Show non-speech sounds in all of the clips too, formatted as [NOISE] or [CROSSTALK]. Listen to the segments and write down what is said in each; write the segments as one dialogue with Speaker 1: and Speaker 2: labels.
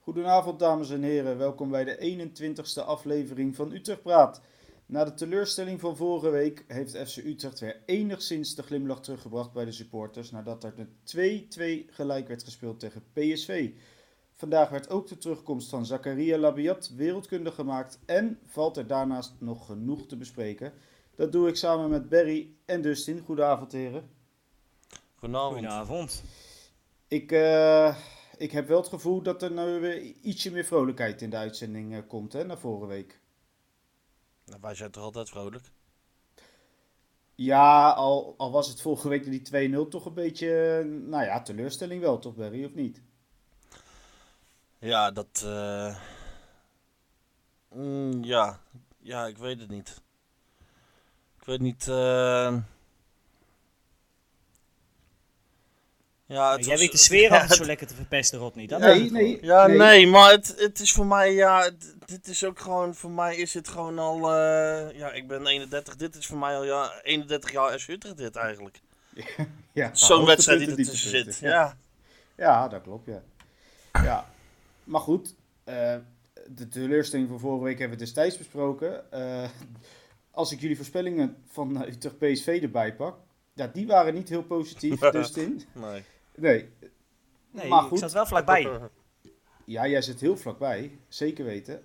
Speaker 1: Goedenavond dames en heren, welkom bij de 21ste aflevering van Utrecht Praat. Na de teleurstelling van vorige week heeft FC Utrecht weer enigszins de glimlach teruggebracht bij de supporters nadat er met 2-2 gelijk werd gespeeld tegen PSV. Vandaag werd ook de terugkomst van Zakaria Labiat wereldkundig gemaakt en valt er daarnaast nog genoeg te bespreken. Dat doe ik samen met Barry en Dustin. Goedenavond heren.
Speaker 2: Goedenavond.
Speaker 3: Goedenavond.
Speaker 1: Ik, eh, ik heb wel het gevoel dat er nu weer ietsje meer vrolijkheid in de uitzending eh, komt hè, na vorige week.
Speaker 2: Nou, Wij zijn toch altijd vrolijk?
Speaker 1: Ja, al, al was het vorige week die 2-0 toch een beetje, eh, nou ja, teleurstelling wel toch Barry, of niet?
Speaker 2: Ja, dat... eh, mm, ja. ja, ik weet het niet. Ik weet niet... eh, Ja, het
Speaker 3: jij
Speaker 2: was-
Speaker 3: weet de sfeer altijd zo
Speaker 2: [LAUGHS] Ja,
Speaker 3: lekker te verpesten, Rodney. Dat
Speaker 1: nee,
Speaker 3: is het
Speaker 1: nee,
Speaker 3: gewoon.
Speaker 2: ja, nee,
Speaker 1: nee.
Speaker 2: maar het, het is voor mij, ja, d- dit is ook gewoon, voor mij is het gewoon al, eh, ja, ik ben 31, dit is voor mij al ja, 31 jaar FC Utrecht dit eigenlijk.
Speaker 1: Ja,
Speaker 2: Zo'n wedstrijd Ah, die
Speaker 1: hoogtepunten,
Speaker 2: ertussen
Speaker 1: dieptepunten.
Speaker 2: zit, ja.
Speaker 1: Ja, dat klopt, ja. ja. Maar goed, eh, de teleurstelling van vorige week hebben we destijds besproken. Eh, als ik jullie voorspellingen van eh, Utrecht PSV erbij pak, ja, die waren niet heel
Speaker 3: [LAUGHS]
Speaker 1: positief, Dustin.
Speaker 2: Nee.
Speaker 1: Nee,
Speaker 3: Nee,
Speaker 1: maar
Speaker 3: ik
Speaker 1: goed.
Speaker 3: zat wel vlakbij.
Speaker 1: Ja, jij zit heel vlakbij, zeker weten.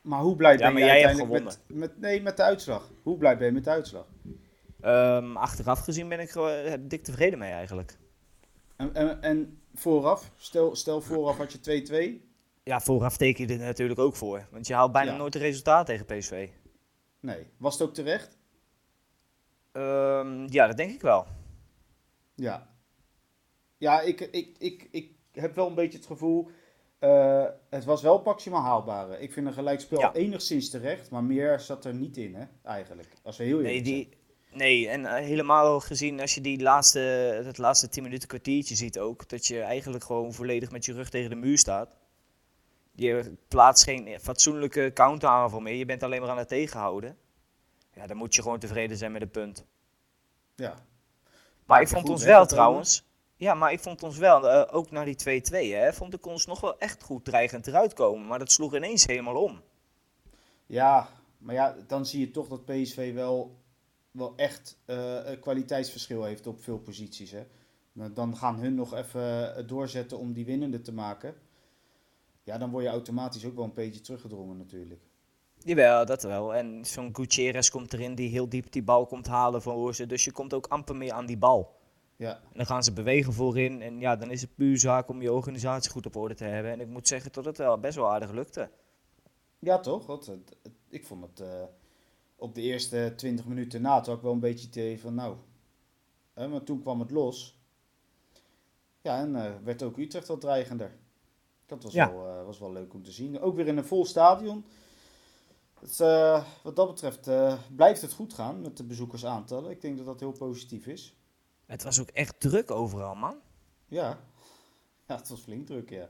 Speaker 1: Maar hoe blij
Speaker 3: Ja,
Speaker 1: ben
Speaker 3: maar
Speaker 1: jij
Speaker 3: jij hebt
Speaker 1: uiteindelijk met, met, nee, met de uitslag? Hoe blij ben je met de uitslag?
Speaker 3: Ehm, achteraf gezien ben ik er eh, dik tevreden mee eigenlijk.
Speaker 1: En, en, en vooraf, stel, stel vooraf had je 2-2.
Speaker 3: Ja, vooraf teken je er natuurlijk ook voor. Want je haalt bijna
Speaker 1: Ja.
Speaker 3: nooit een resultaat tegen PSV.
Speaker 1: Nee, was het ook terecht?
Speaker 3: Ehm, ja, dat denk ik wel.
Speaker 1: Ja. Ja, ik, ik, ik, ik heb wel een beetje het gevoel, eh, het was wel maximaal haalbare. Ik vind een gelijkspel
Speaker 3: Ja.
Speaker 1: enigszins terecht, maar meer zat er niet in, hè, eigenlijk. Als we heel eerlijk
Speaker 3: Nee, die, nee en eh, helemaal gezien als je die laatste, het laatste 10 minuten kwartiertje ziet ook. Dat je eigenlijk gewoon volledig met je rug tegen de muur staat. Je plaatst geen fatsoenlijke counteraanval meer. Je bent alleen maar aan het tegenhouden. Ja, dan moet je gewoon tevreden zijn met een punt.
Speaker 1: zijn. Ja.
Speaker 3: Maar
Speaker 1: Ja,
Speaker 3: ik
Speaker 1: goed
Speaker 3: vond ons wel
Speaker 1: weggekomen.
Speaker 3: trouwens. Ja, maar ik vond ons wel, eh, ook naar die 2-2, hè, vond ik ons nog wel echt goed dreigend eruit komen. Maar dat sloeg ineens helemaal om.
Speaker 1: Ja, maar ja, dan zie je toch dat PSV wel, wel echt eh, een kwaliteitsverschil heeft op veel posities. Hè? Nou, Dan gaan hun nog even eh, doorzetten om die winnende te maken. Ja, dan word je automatisch ook wel een beetje teruggedrongen natuurlijk.
Speaker 3: Jawel, dat wel. En zo'n Gutierrez komt erin die heel diep die bal komt halen van Oorzen. Dus je komt ook amper meer aan die bal.
Speaker 1: Ja,
Speaker 3: En dan gaan ze bewegen voorin. En ja, dan is het puur zaak om je organisatie goed op orde te hebben. En ik moet zeggen dat het wel best wel aardig lukte.
Speaker 1: ja toch? Want het- het- ik vond het eh, op de eerste 20 minuten na toch wel een beetje het idee van nou. Hè, maar toen kwam het los. Ja, en eh, werd ook Utrecht wat dreigender. Dat was,
Speaker 3: Ja.
Speaker 1: wel, eh, was wel leuk om te zien. Ook weer in een vol stadion. Het, is, eh, wat dat betreft eh, blijft het goed gaan met de bezoekersaantallen. Ik denk dat dat heel positief is.
Speaker 3: Het was ook echt druk overal, man.
Speaker 1: Ja, ja het was flink druk, ja.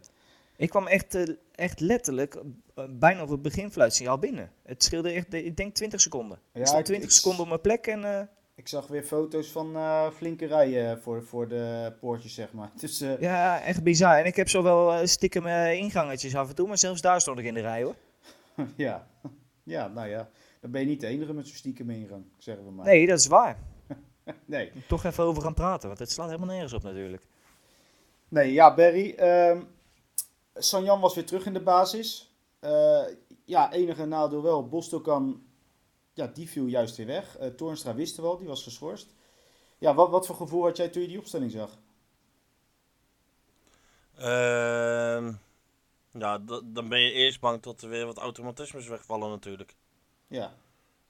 Speaker 3: Ik kwam echt, eh, echt letterlijk eh, bijna op het beginfluitsignaal binnen. Het scheelde echt, eh, ik denk 20 seconden.
Speaker 1: Ja,
Speaker 3: ik stond
Speaker 1: ik-
Speaker 3: 20
Speaker 1: ik-
Speaker 3: seconden op mijn plek en eh,
Speaker 1: Ik zag weer foto's van eh, flinke rijen voor, voor de poortjes, zeg maar. [LAUGHS] Dus eh,
Speaker 3: ja, echt bizar. En ik heb zo wel eh, stiekem eh, ingangetjes af en toe, maar zelfs daar stond ik in de rij hoor.
Speaker 1: Ja. [LAUGHS] ja, nou ja, dan ben je niet de enige met zo'n stiekem ingang, zeggen we maar.
Speaker 3: Nee, dat is waar.
Speaker 1: nee.
Speaker 3: Moet Toch even over gaan praten, want het slaat helemaal nergens op natuurlijk.
Speaker 1: Nee, ja, Barry. ehm Sanjan was weer terug in de basis. Eh, ja, enige nadeel wel. Bostokan, ja, die viel juist weer weg. Eh Toornstra wist er wel, die was geschorst. Ja, wat, wat voor gevoel had jij toen je die opstelling zag?
Speaker 2: Ehm, ja, da- dan ben je eerst bang dat er weer wat automatismes wegvallen natuurlijk.
Speaker 1: Ja,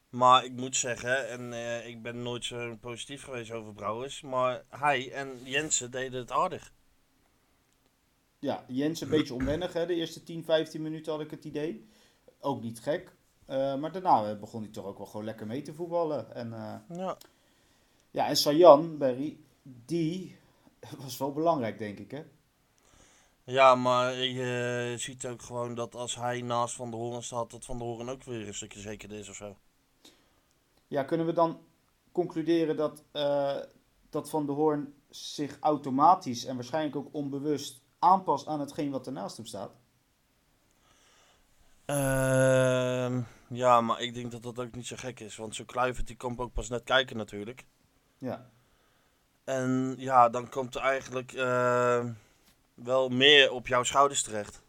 Speaker 2: Maar ik moet zeggen, en eh, ik ben nooit zo positief geweest over Brouwers, maar hij en Jensen deden het aardig.
Speaker 1: ja Jens een beetje onwennig, hè. De eerste 10, 15 minuten had ik het idee. Ook niet gek. Eh, maar daarna eh, begon hij toch ook wel gewoon lekker mee te voetballen. En... eh,
Speaker 2: Ja,
Speaker 1: Ja, en Sayan, Barry, die [LAUGHS] was wel belangrijk, denk ik, hè?
Speaker 2: ja maar je eh, ziet ook gewoon dat als hij naast Van der Hoorn staat, dat Van der Hoorn ook weer een stukje zekerder is of zo.
Speaker 1: Ja, kunnen we dan concluderen dat, eh, dat Van der Hoorn zich automatisch en waarschijnlijk ook onbewust aanpast aan hetgeen wat ernaast hem staat?
Speaker 2: Ehm, ja, maar ik denk dat dat ook niet zo gek is. Want zo'n Kluivert die komt ook pas net kijken natuurlijk.
Speaker 1: Ja,
Speaker 2: En ja, dan komt er eigenlijk eh, wel meer op jouw schouders terecht.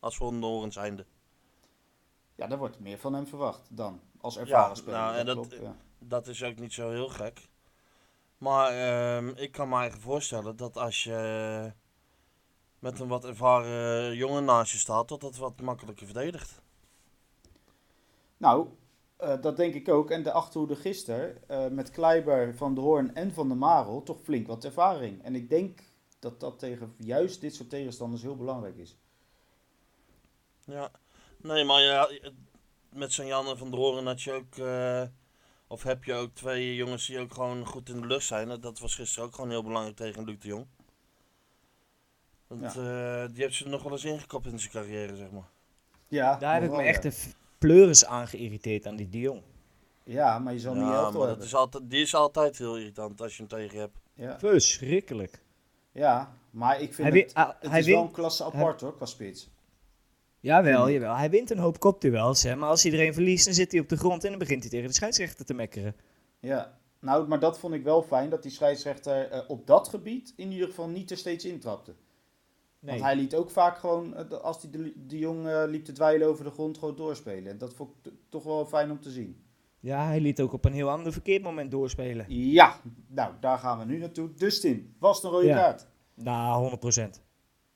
Speaker 2: Als voor Noren zijnde.
Speaker 1: ja daar wordt meer van hem verwacht dan. Als ervaren
Speaker 2: Ja,
Speaker 1: speler.
Speaker 2: nou, en dat-
Speaker 3: eh,
Speaker 1: klopt, ja.
Speaker 2: Dat is ook niet zo heel gek. Maar ehm, ik kan me eigenlijk voorstellen dat als je eh, met een wat ervaren jongen naast je staat, dat dat wat makkelijker verdedigt.
Speaker 1: Nou, eh, dat denk ik ook. En de achterhoede gisteren eh, met Kleiber, Van de Hoorn en Van der Marel toch flink wat ervaring. En ik denk dat dat tegen juist dit soort tegenstanders heel belangrijk is.
Speaker 2: Ja. Nee, maar ja, met zijn Jan en Van der Hoorn had je ook, eh, of heb je ook twee jongens die ook gewoon goed in de lucht zijn. En Dat was gisteren ook gewoon heel belangrijk tegen Luc de Jong. Want eh, die heeft ze nog wel eens ingekopt in zijn carrière, zeg maar.
Speaker 1: Ja,
Speaker 3: Daar heb ik me
Speaker 1: vooral,
Speaker 3: echt
Speaker 1: ja.
Speaker 3: een f- pleuris aan geïrriteerd aan die Dion.
Speaker 1: Ja, maar je zal niet
Speaker 2: ja,
Speaker 1: elftal
Speaker 2: maar
Speaker 1: hebben.
Speaker 2: dat is altijd, die is altijd heel irritant als je hem tegen je hebt.
Speaker 1: Ja.
Speaker 3: Verschrikkelijk.
Speaker 1: ja, maar ik vind
Speaker 3: Hij
Speaker 1: het,
Speaker 3: wi- ah,
Speaker 1: het
Speaker 3: hij
Speaker 1: is wel
Speaker 3: wint-
Speaker 1: een klasse apart hoor, qua spits. Hm.
Speaker 3: Jawel, jawel. Hij wint een hoop kopduels, hè. Maar als iedereen verliest, dan zit hij op de grond en dan begint hij tegen de scheidsrechter te mekkeren.
Speaker 1: Ja, nou, maar dat vond ik wel fijn dat die scheidsrechter eh, op dat gebied in ieder geval niet er steeds intrapte.
Speaker 3: Nee.
Speaker 1: Want hij liet ook vaak gewoon, eh, de- als die de, de jong eh, liep te dweilen over de grond, gewoon doorspelen. En dat vond ik t- toch wel fijn om te zien.
Speaker 3: Ja, hij liet ook op een heel ander verkeerd moment doorspelen.
Speaker 1: Ja, nou, daar gaan we nu naartoe. Dus Tim, was het een rode
Speaker 3: Ja.
Speaker 1: kaart?
Speaker 3: Nou, 100%.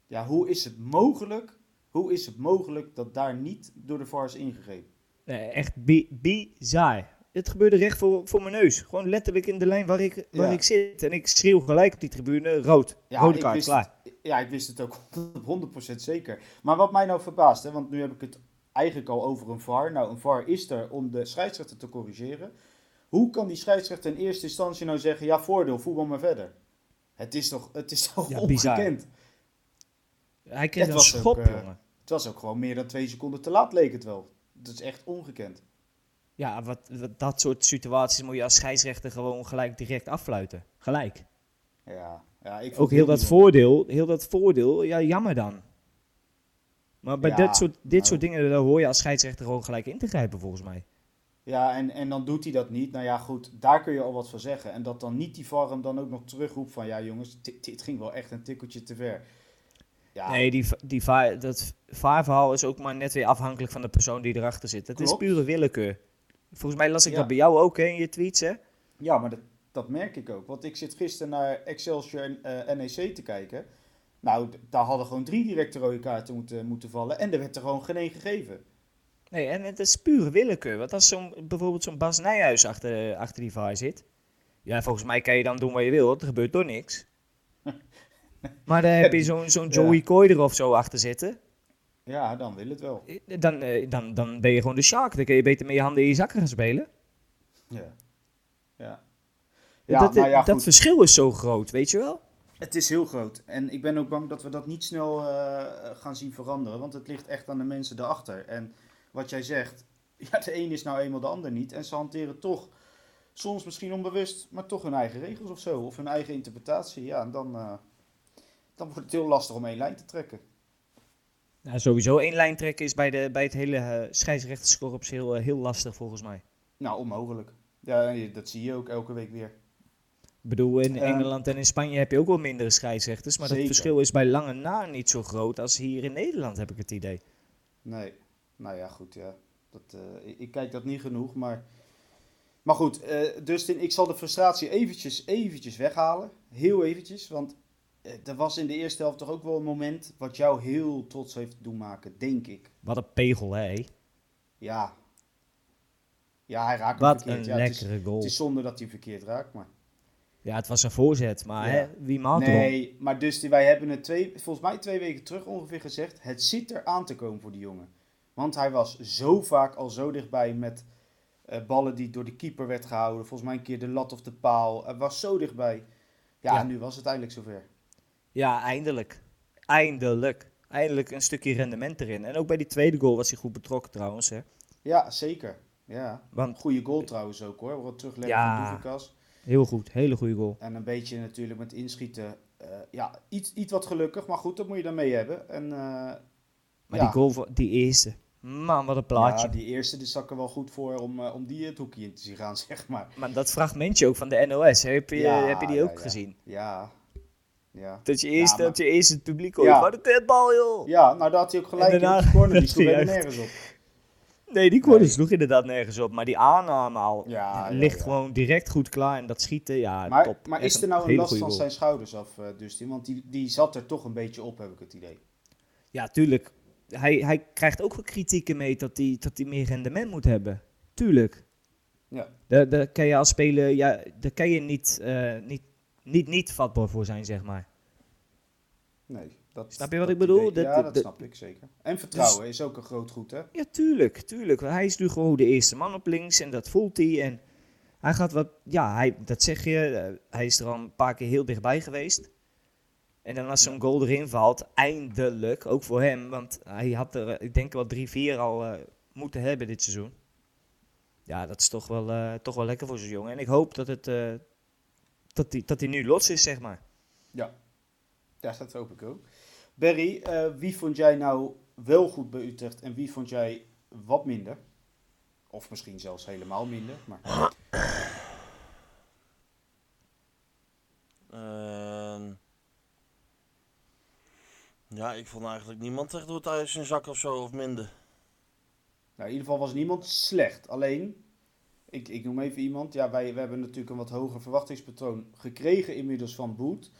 Speaker 1: Ja, hoe is het mogelijk, hoe is het mogelijk dat daar niet door de VAR is ingegrepen?
Speaker 3: Nee, echt bi- bizar. Het gebeurde recht voor, voor mijn neus. Gewoon letterlijk in de lijn waar ik, waar
Speaker 1: Ja.
Speaker 3: ik zit. En ik schreeuw gelijk op die tribune, rood.
Speaker 1: Ja,
Speaker 3: Rode
Speaker 1: ik
Speaker 3: kaart,
Speaker 1: wist
Speaker 3: klaar.
Speaker 1: Ja, ik wist het ook [LAUGHS] op 100% zeker. Maar wat mij nou verbaast, hè, want nu heb ik het eigenlijk al over een VAR. Nou, een VAR is er om de scheidsrechter te corrigeren. Hoe kan die scheidsrechter in eerste instantie nou zeggen, ja, voordeel, voetbal maar verder? Het is toch, het is [LAUGHS] toch
Speaker 3: Ja, bizar.
Speaker 1: ongekend?
Speaker 3: Hij kreeg
Speaker 1: Het
Speaker 3: een
Speaker 1: was ook,
Speaker 3: schop,
Speaker 1: eh,
Speaker 3: jongen.
Speaker 1: Het was ook gewoon meer dan twee seconden te laat, leek het wel. Dat is echt ongekend.
Speaker 3: Ja, wat, wat- dat soort situaties moet je als scheidsrechter gewoon gelijk direct affluiten. Gelijk.
Speaker 1: Ja, ja ik vond
Speaker 3: Ook
Speaker 1: het
Speaker 3: heel dat
Speaker 1: bijzonder.
Speaker 3: voordeel, heel dat voordeel, ja, jammer dan. Maar bij
Speaker 1: Ja,
Speaker 3: dit, soort, dit
Speaker 1: nou.
Speaker 3: soort dingen, daar hoor je als scheidsrechter gewoon gelijk in te grijpen, volgens mij.
Speaker 1: Ja, en, en dan doet hij dat niet. Nou ja, goed, daar kun je al wat van zeggen. En dat dan niet die VAR hem dan ook nog terugroept van... Ja, jongens, dit, dit ging wel echt een tikkeltje te ver. Ja,
Speaker 3: Nee, die, va- die va- dat vaarverhaal is ook maar net weer afhankelijk van de persoon die erachter zit. Het is
Speaker 1: Klopt.
Speaker 3: pure willekeur. Volgens mij las ik
Speaker 1: Ja.
Speaker 3: dat bij jou ook hè, in je tweets, hè?
Speaker 1: ja maar dat, dat merk ik ook. Want ik zit gisteren naar Excelsior en eh, NEC te kijken. Nou, d- daar hadden gewoon drie directe rode kaarten moeten, moeten vallen. En er werd er gewoon geen één gegeven.
Speaker 3: Nee, en het is pure willekeur. Want als zo'n, bijvoorbeeld zo'n Bas Nijhuis achter, achter die vaar zit. Ja, volgens mij kan je dan doen wat je wil. want Er gebeurt toch
Speaker 1: [LAUGHS]
Speaker 3: niks. maar dan heb je zo'n, zo'n Joey
Speaker 1: Ja.
Speaker 3: Coy er of zo achter zitten.
Speaker 1: Ja, dan wil het wel.
Speaker 3: eh, Dan, eh, dan, dan ben je gewoon de shark. Dan kun je beter met je handen in je zakken gaan spelen.
Speaker 1: Ja. Ja. Ja,
Speaker 3: dat,
Speaker 1: maar ja,
Speaker 3: dat
Speaker 1: goed.
Speaker 3: verschil is zo groot, weet je wel?
Speaker 1: Het is heel groot. En ik ben ook bang dat we dat niet snel eh, gaan zien veranderen. Want het ligt echt aan de mensen daarachter. En wat jij zegt, [LAUGHS] ja, de een is nou eenmaal de ander niet. En ze hanteren toch, soms misschien onbewust, maar toch hun eigen regels of zo. Of hun eigen interpretatie. Ja, en dan, eh, dan wordt het heel lastig om één lijn te trekken.
Speaker 3: Nou, sowieso één lijn trekken is bij, de, bij het hele eh scheidsrechterskorps heel, eh, heel lastig volgens mij.
Speaker 1: Nou, onmogelijk. Ja, je- dat zie je ook elke week weer.
Speaker 3: Ik bedoel, in
Speaker 1: Ja.
Speaker 3: Engeland en in Spanje heb je ook wel mindere scheidsrechters. Maar
Speaker 1: Zeker.
Speaker 3: dat verschil is bij lange na niet zo groot als hier in Nederland, heb ik het idee.
Speaker 1: Nee. Nou ja, goed, ja. Dat, eh, ik, ik kijk dat niet genoeg, maar... Maar goed, eh Dustin, ik zal de frustratie eventjes, eventjes weghalen. Heel eventjes, want eh, er was in de eerste helft toch ook wel een moment... wat jou heel trots heeft doen maken, denk ik.
Speaker 3: Wat een pegel, hè?
Speaker 1: Ja. Ja, hij raakt hem
Speaker 3: Wat een
Speaker 1: verkeerd. ja, het, is,
Speaker 3: lekkere goal.
Speaker 1: het is zonde dat hij verkeerd raakt, maar...
Speaker 3: Ja, het was een voorzet, maar
Speaker 1: Ja.
Speaker 3: hè, wie maalt erom?
Speaker 1: Nee, maar dus die- wij hebben het twee, volgens mij twee weken terug ongeveer gezegd. Het zit er aan te komen voor die jongen. Want hij was zo vaak al zo dichtbij met eh, ballen die door de keeper werd gehouden. Volgens mij een keer de lat of de paal. Hij was zo dichtbij. Ja,
Speaker 3: Ja.
Speaker 1: en nu was het eindelijk zover.
Speaker 3: Ja, eindelijk. Eindelijk. Eindelijk een stukje rendement erin. En ook bij die tweede goal was hij goed betrokken trouwens, hè?
Speaker 1: Ja, zeker. Ja.
Speaker 3: Want
Speaker 1: Goede goal trouwens ook hoor. Wat terugleggen
Speaker 3: Ja.
Speaker 1: van Doevikas.
Speaker 3: heel goed, hele goede goal.
Speaker 1: En een beetje natuurlijk met inschieten. eh, ja, iets, iets wat gelukkig. Maar goed, dat moet je dan mee hebben. En eh,
Speaker 3: Maar
Speaker 1: ja.
Speaker 3: die goal, van- die eerste, Man, wat een plaatje.
Speaker 1: Ja, die eerste die zat er wel goed voor om, eh, om die het hoekje in te zien gaan, [LAUGHS] zeg maar.
Speaker 3: Maar dat fragmentje ook van de NOS, heb je,
Speaker 1: Ja,
Speaker 3: heb je die
Speaker 1: ja,
Speaker 3: ook
Speaker 1: ja.
Speaker 3: gezien?
Speaker 1: Ja. Ja.
Speaker 3: Dat je eerst,
Speaker 1: Ja, maar-
Speaker 3: dat je eerst het publiek hoort.
Speaker 1: Ja.
Speaker 3: Wat een tetbal, joh!
Speaker 1: ja, nou daar had hij ook gelijk
Speaker 3: En
Speaker 1: in
Speaker 3: daarna-
Speaker 1: op de corner. Die
Speaker 3: [LAUGHS] dat
Speaker 1: sloeg
Speaker 3: hij
Speaker 1: helemaal nergens op.
Speaker 3: Nee, die corner
Speaker 1: Nee.
Speaker 3: sloeg inderdaad nergens op. Maar die aanname al
Speaker 1: Ja, ja,
Speaker 3: ligt
Speaker 1: ja.
Speaker 3: gewoon direct goed klaar. En dat schieten, ja,
Speaker 1: Maar,
Speaker 3: top.
Speaker 1: maar
Speaker 3: Echt
Speaker 1: is er nou een
Speaker 3: hele
Speaker 1: last
Speaker 3: goede
Speaker 1: van
Speaker 3: goal.
Speaker 1: zijn schouders af, eh Dustin? Want die, die zat er toch een beetje op, heb ik het idee.
Speaker 3: Ja, tuurlijk. Hij, hij krijgt ook wel kritieken mee dat hij, dat hij meer rendement moet hebben. Tuurlijk.
Speaker 1: Ja.
Speaker 3: Daar, daar kan je als speler, ja, daar kan je niet, eh, niet, niet, niet vatbaar voor zijn, zeg maar.
Speaker 1: Nee. Dat,
Speaker 3: Snap je wat
Speaker 1: dat
Speaker 3: ik bedoel?
Speaker 1: idee- ja,
Speaker 3: Dat-
Speaker 1: dat
Speaker 3: dat- Dus-
Speaker 1: snap ik zeker. En vertrouwen is ook een groot goed, hè?
Speaker 3: Ja, tuurlijk, tuurlijk. Hij is nu gewoon de eerste man op links en dat voelt hij. En hij gaat wat, ja, hij, dat zeg je, eh, hij is er al een paar keer heel dichtbij geweest. En dan als zo'n goal erin valt, eindelijk, ook voor hem, want hij had er, eh, ik denk wel drie, vier al eh, moeten hebben dit seizoen. Ja, dat is toch wel, eh, toch wel lekker voor zo'n jongen. En ik hoop dat het, eh, dat hij dat hij nu los is, zeg maar.
Speaker 1: Ja. Ja, dat hoop ik ook. Barry, eh, wie vond jij nou wel goed bij Utrecht en wie vond jij wat minder? Of misschien zelfs helemaal minder. Maar... Nou,
Speaker 2: Ehm, ja, ik vond eigenlijk niemand echt doet uit zijn zak of zo, of minder.
Speaker 1: Nou, in ieder geval was niemand slecht. Alleen, ik, ik noem even iemand. Ja, wij, wij hebben natuurlijk een wat hoger verwachtingspatroon gekregen inmiddels van Boet.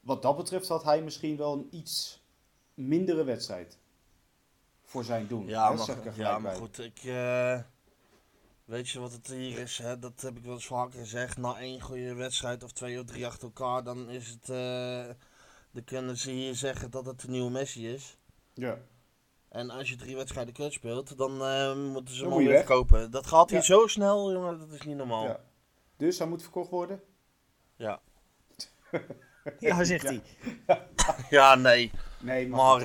Speaker 1: Wat dat betreft had hij misschien wel een iets mindere wedstrijd. Voor zijn doen.
Speaker 2: Ja,
Speaker 1: hè,
Speaker 2: maar,
Speaker 1: zeg ik er
Speaker 2: goed-
Speaker 1: gelijk
Speaker 2: ja, maar
Speaker 1: bij.
Speaker 2: goed, ik... eh, weet je wat het hier is, hè? dat heb ik wel eens vaker gezegd. Na één goede wedstrijd of twee of drie achter elkaar, dan is het... eh, dan kunnen ze hier zeggen dat het de nieuwe Messi is.
Speaker 1: Ja.
Speaker 2: En als je drie wedstrijden kut speelt, dan eh, moeten
Speaker 1: Dan moet
Speaker 2: ze hem
Speaker 1: je
Speaker 2: alweer
Speaker 1: weg.
Speaker 2: verkopen. Dat gaat hier
Speaker 1: Ja.
Speaker 2: zo snel, jongen, dat is niet normaal.
Speaker 1: ja. Dus hij moet verkocht worden?
Speaker 2: Ja, [LAUGHS]
Speaker 3: Ja, zegt hij.
Speaker 2: ja nee.
Speaker 1: Nee, maar,
Speaker 2: Maar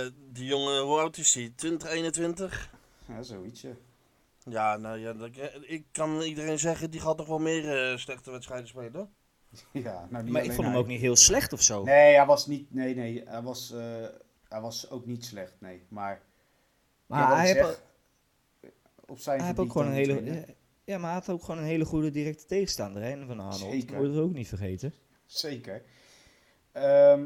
Speaker 2: eh, die jongen, hoe oud is hij? 20, 21?
Speaker 1: Ja, zoiets. ja.
Speaker 2: Ja, nou ja, dat, ik kan iedereen zeggen, die gaat nog wel meer eh, slechte wedstrijden spelen.
Speaker 1: [LAUGHS] Ja, nou, niet
Speaker 3: Maar ik
Speaker 1: alleen
Speaker 3: vond hem
Speaker 1: hij.
Speaker 3: ook niet heel slecht of zo.
Speaker 1: Nee, hij was niet. Nee, nee. Hij was, eh, hij was ook niet slecht. Nee, maar.
Speaker 3: maar
Speaker 1: ja, wat
Speaker 3: hij
Speaker 1: ik
Speaker 3: heeft
Speaker 1: zeg, op zijn
Speaker 3: Hij heeft
Speaker 1: gebied
Speaker 3: ook gewoon
Speaker 1: dan
Speaker 3: een hele,
Speaker 1: niet winnen.
Speaker 3: ja, ja, maar hij had ook gewoon een hele goede directe tegenstander, hè, van Arnold.
Speaker 1: Zeker.
Speaker 3: Dat moet je ook niet vergeten.
Speaker 1: Zeker. Ehm,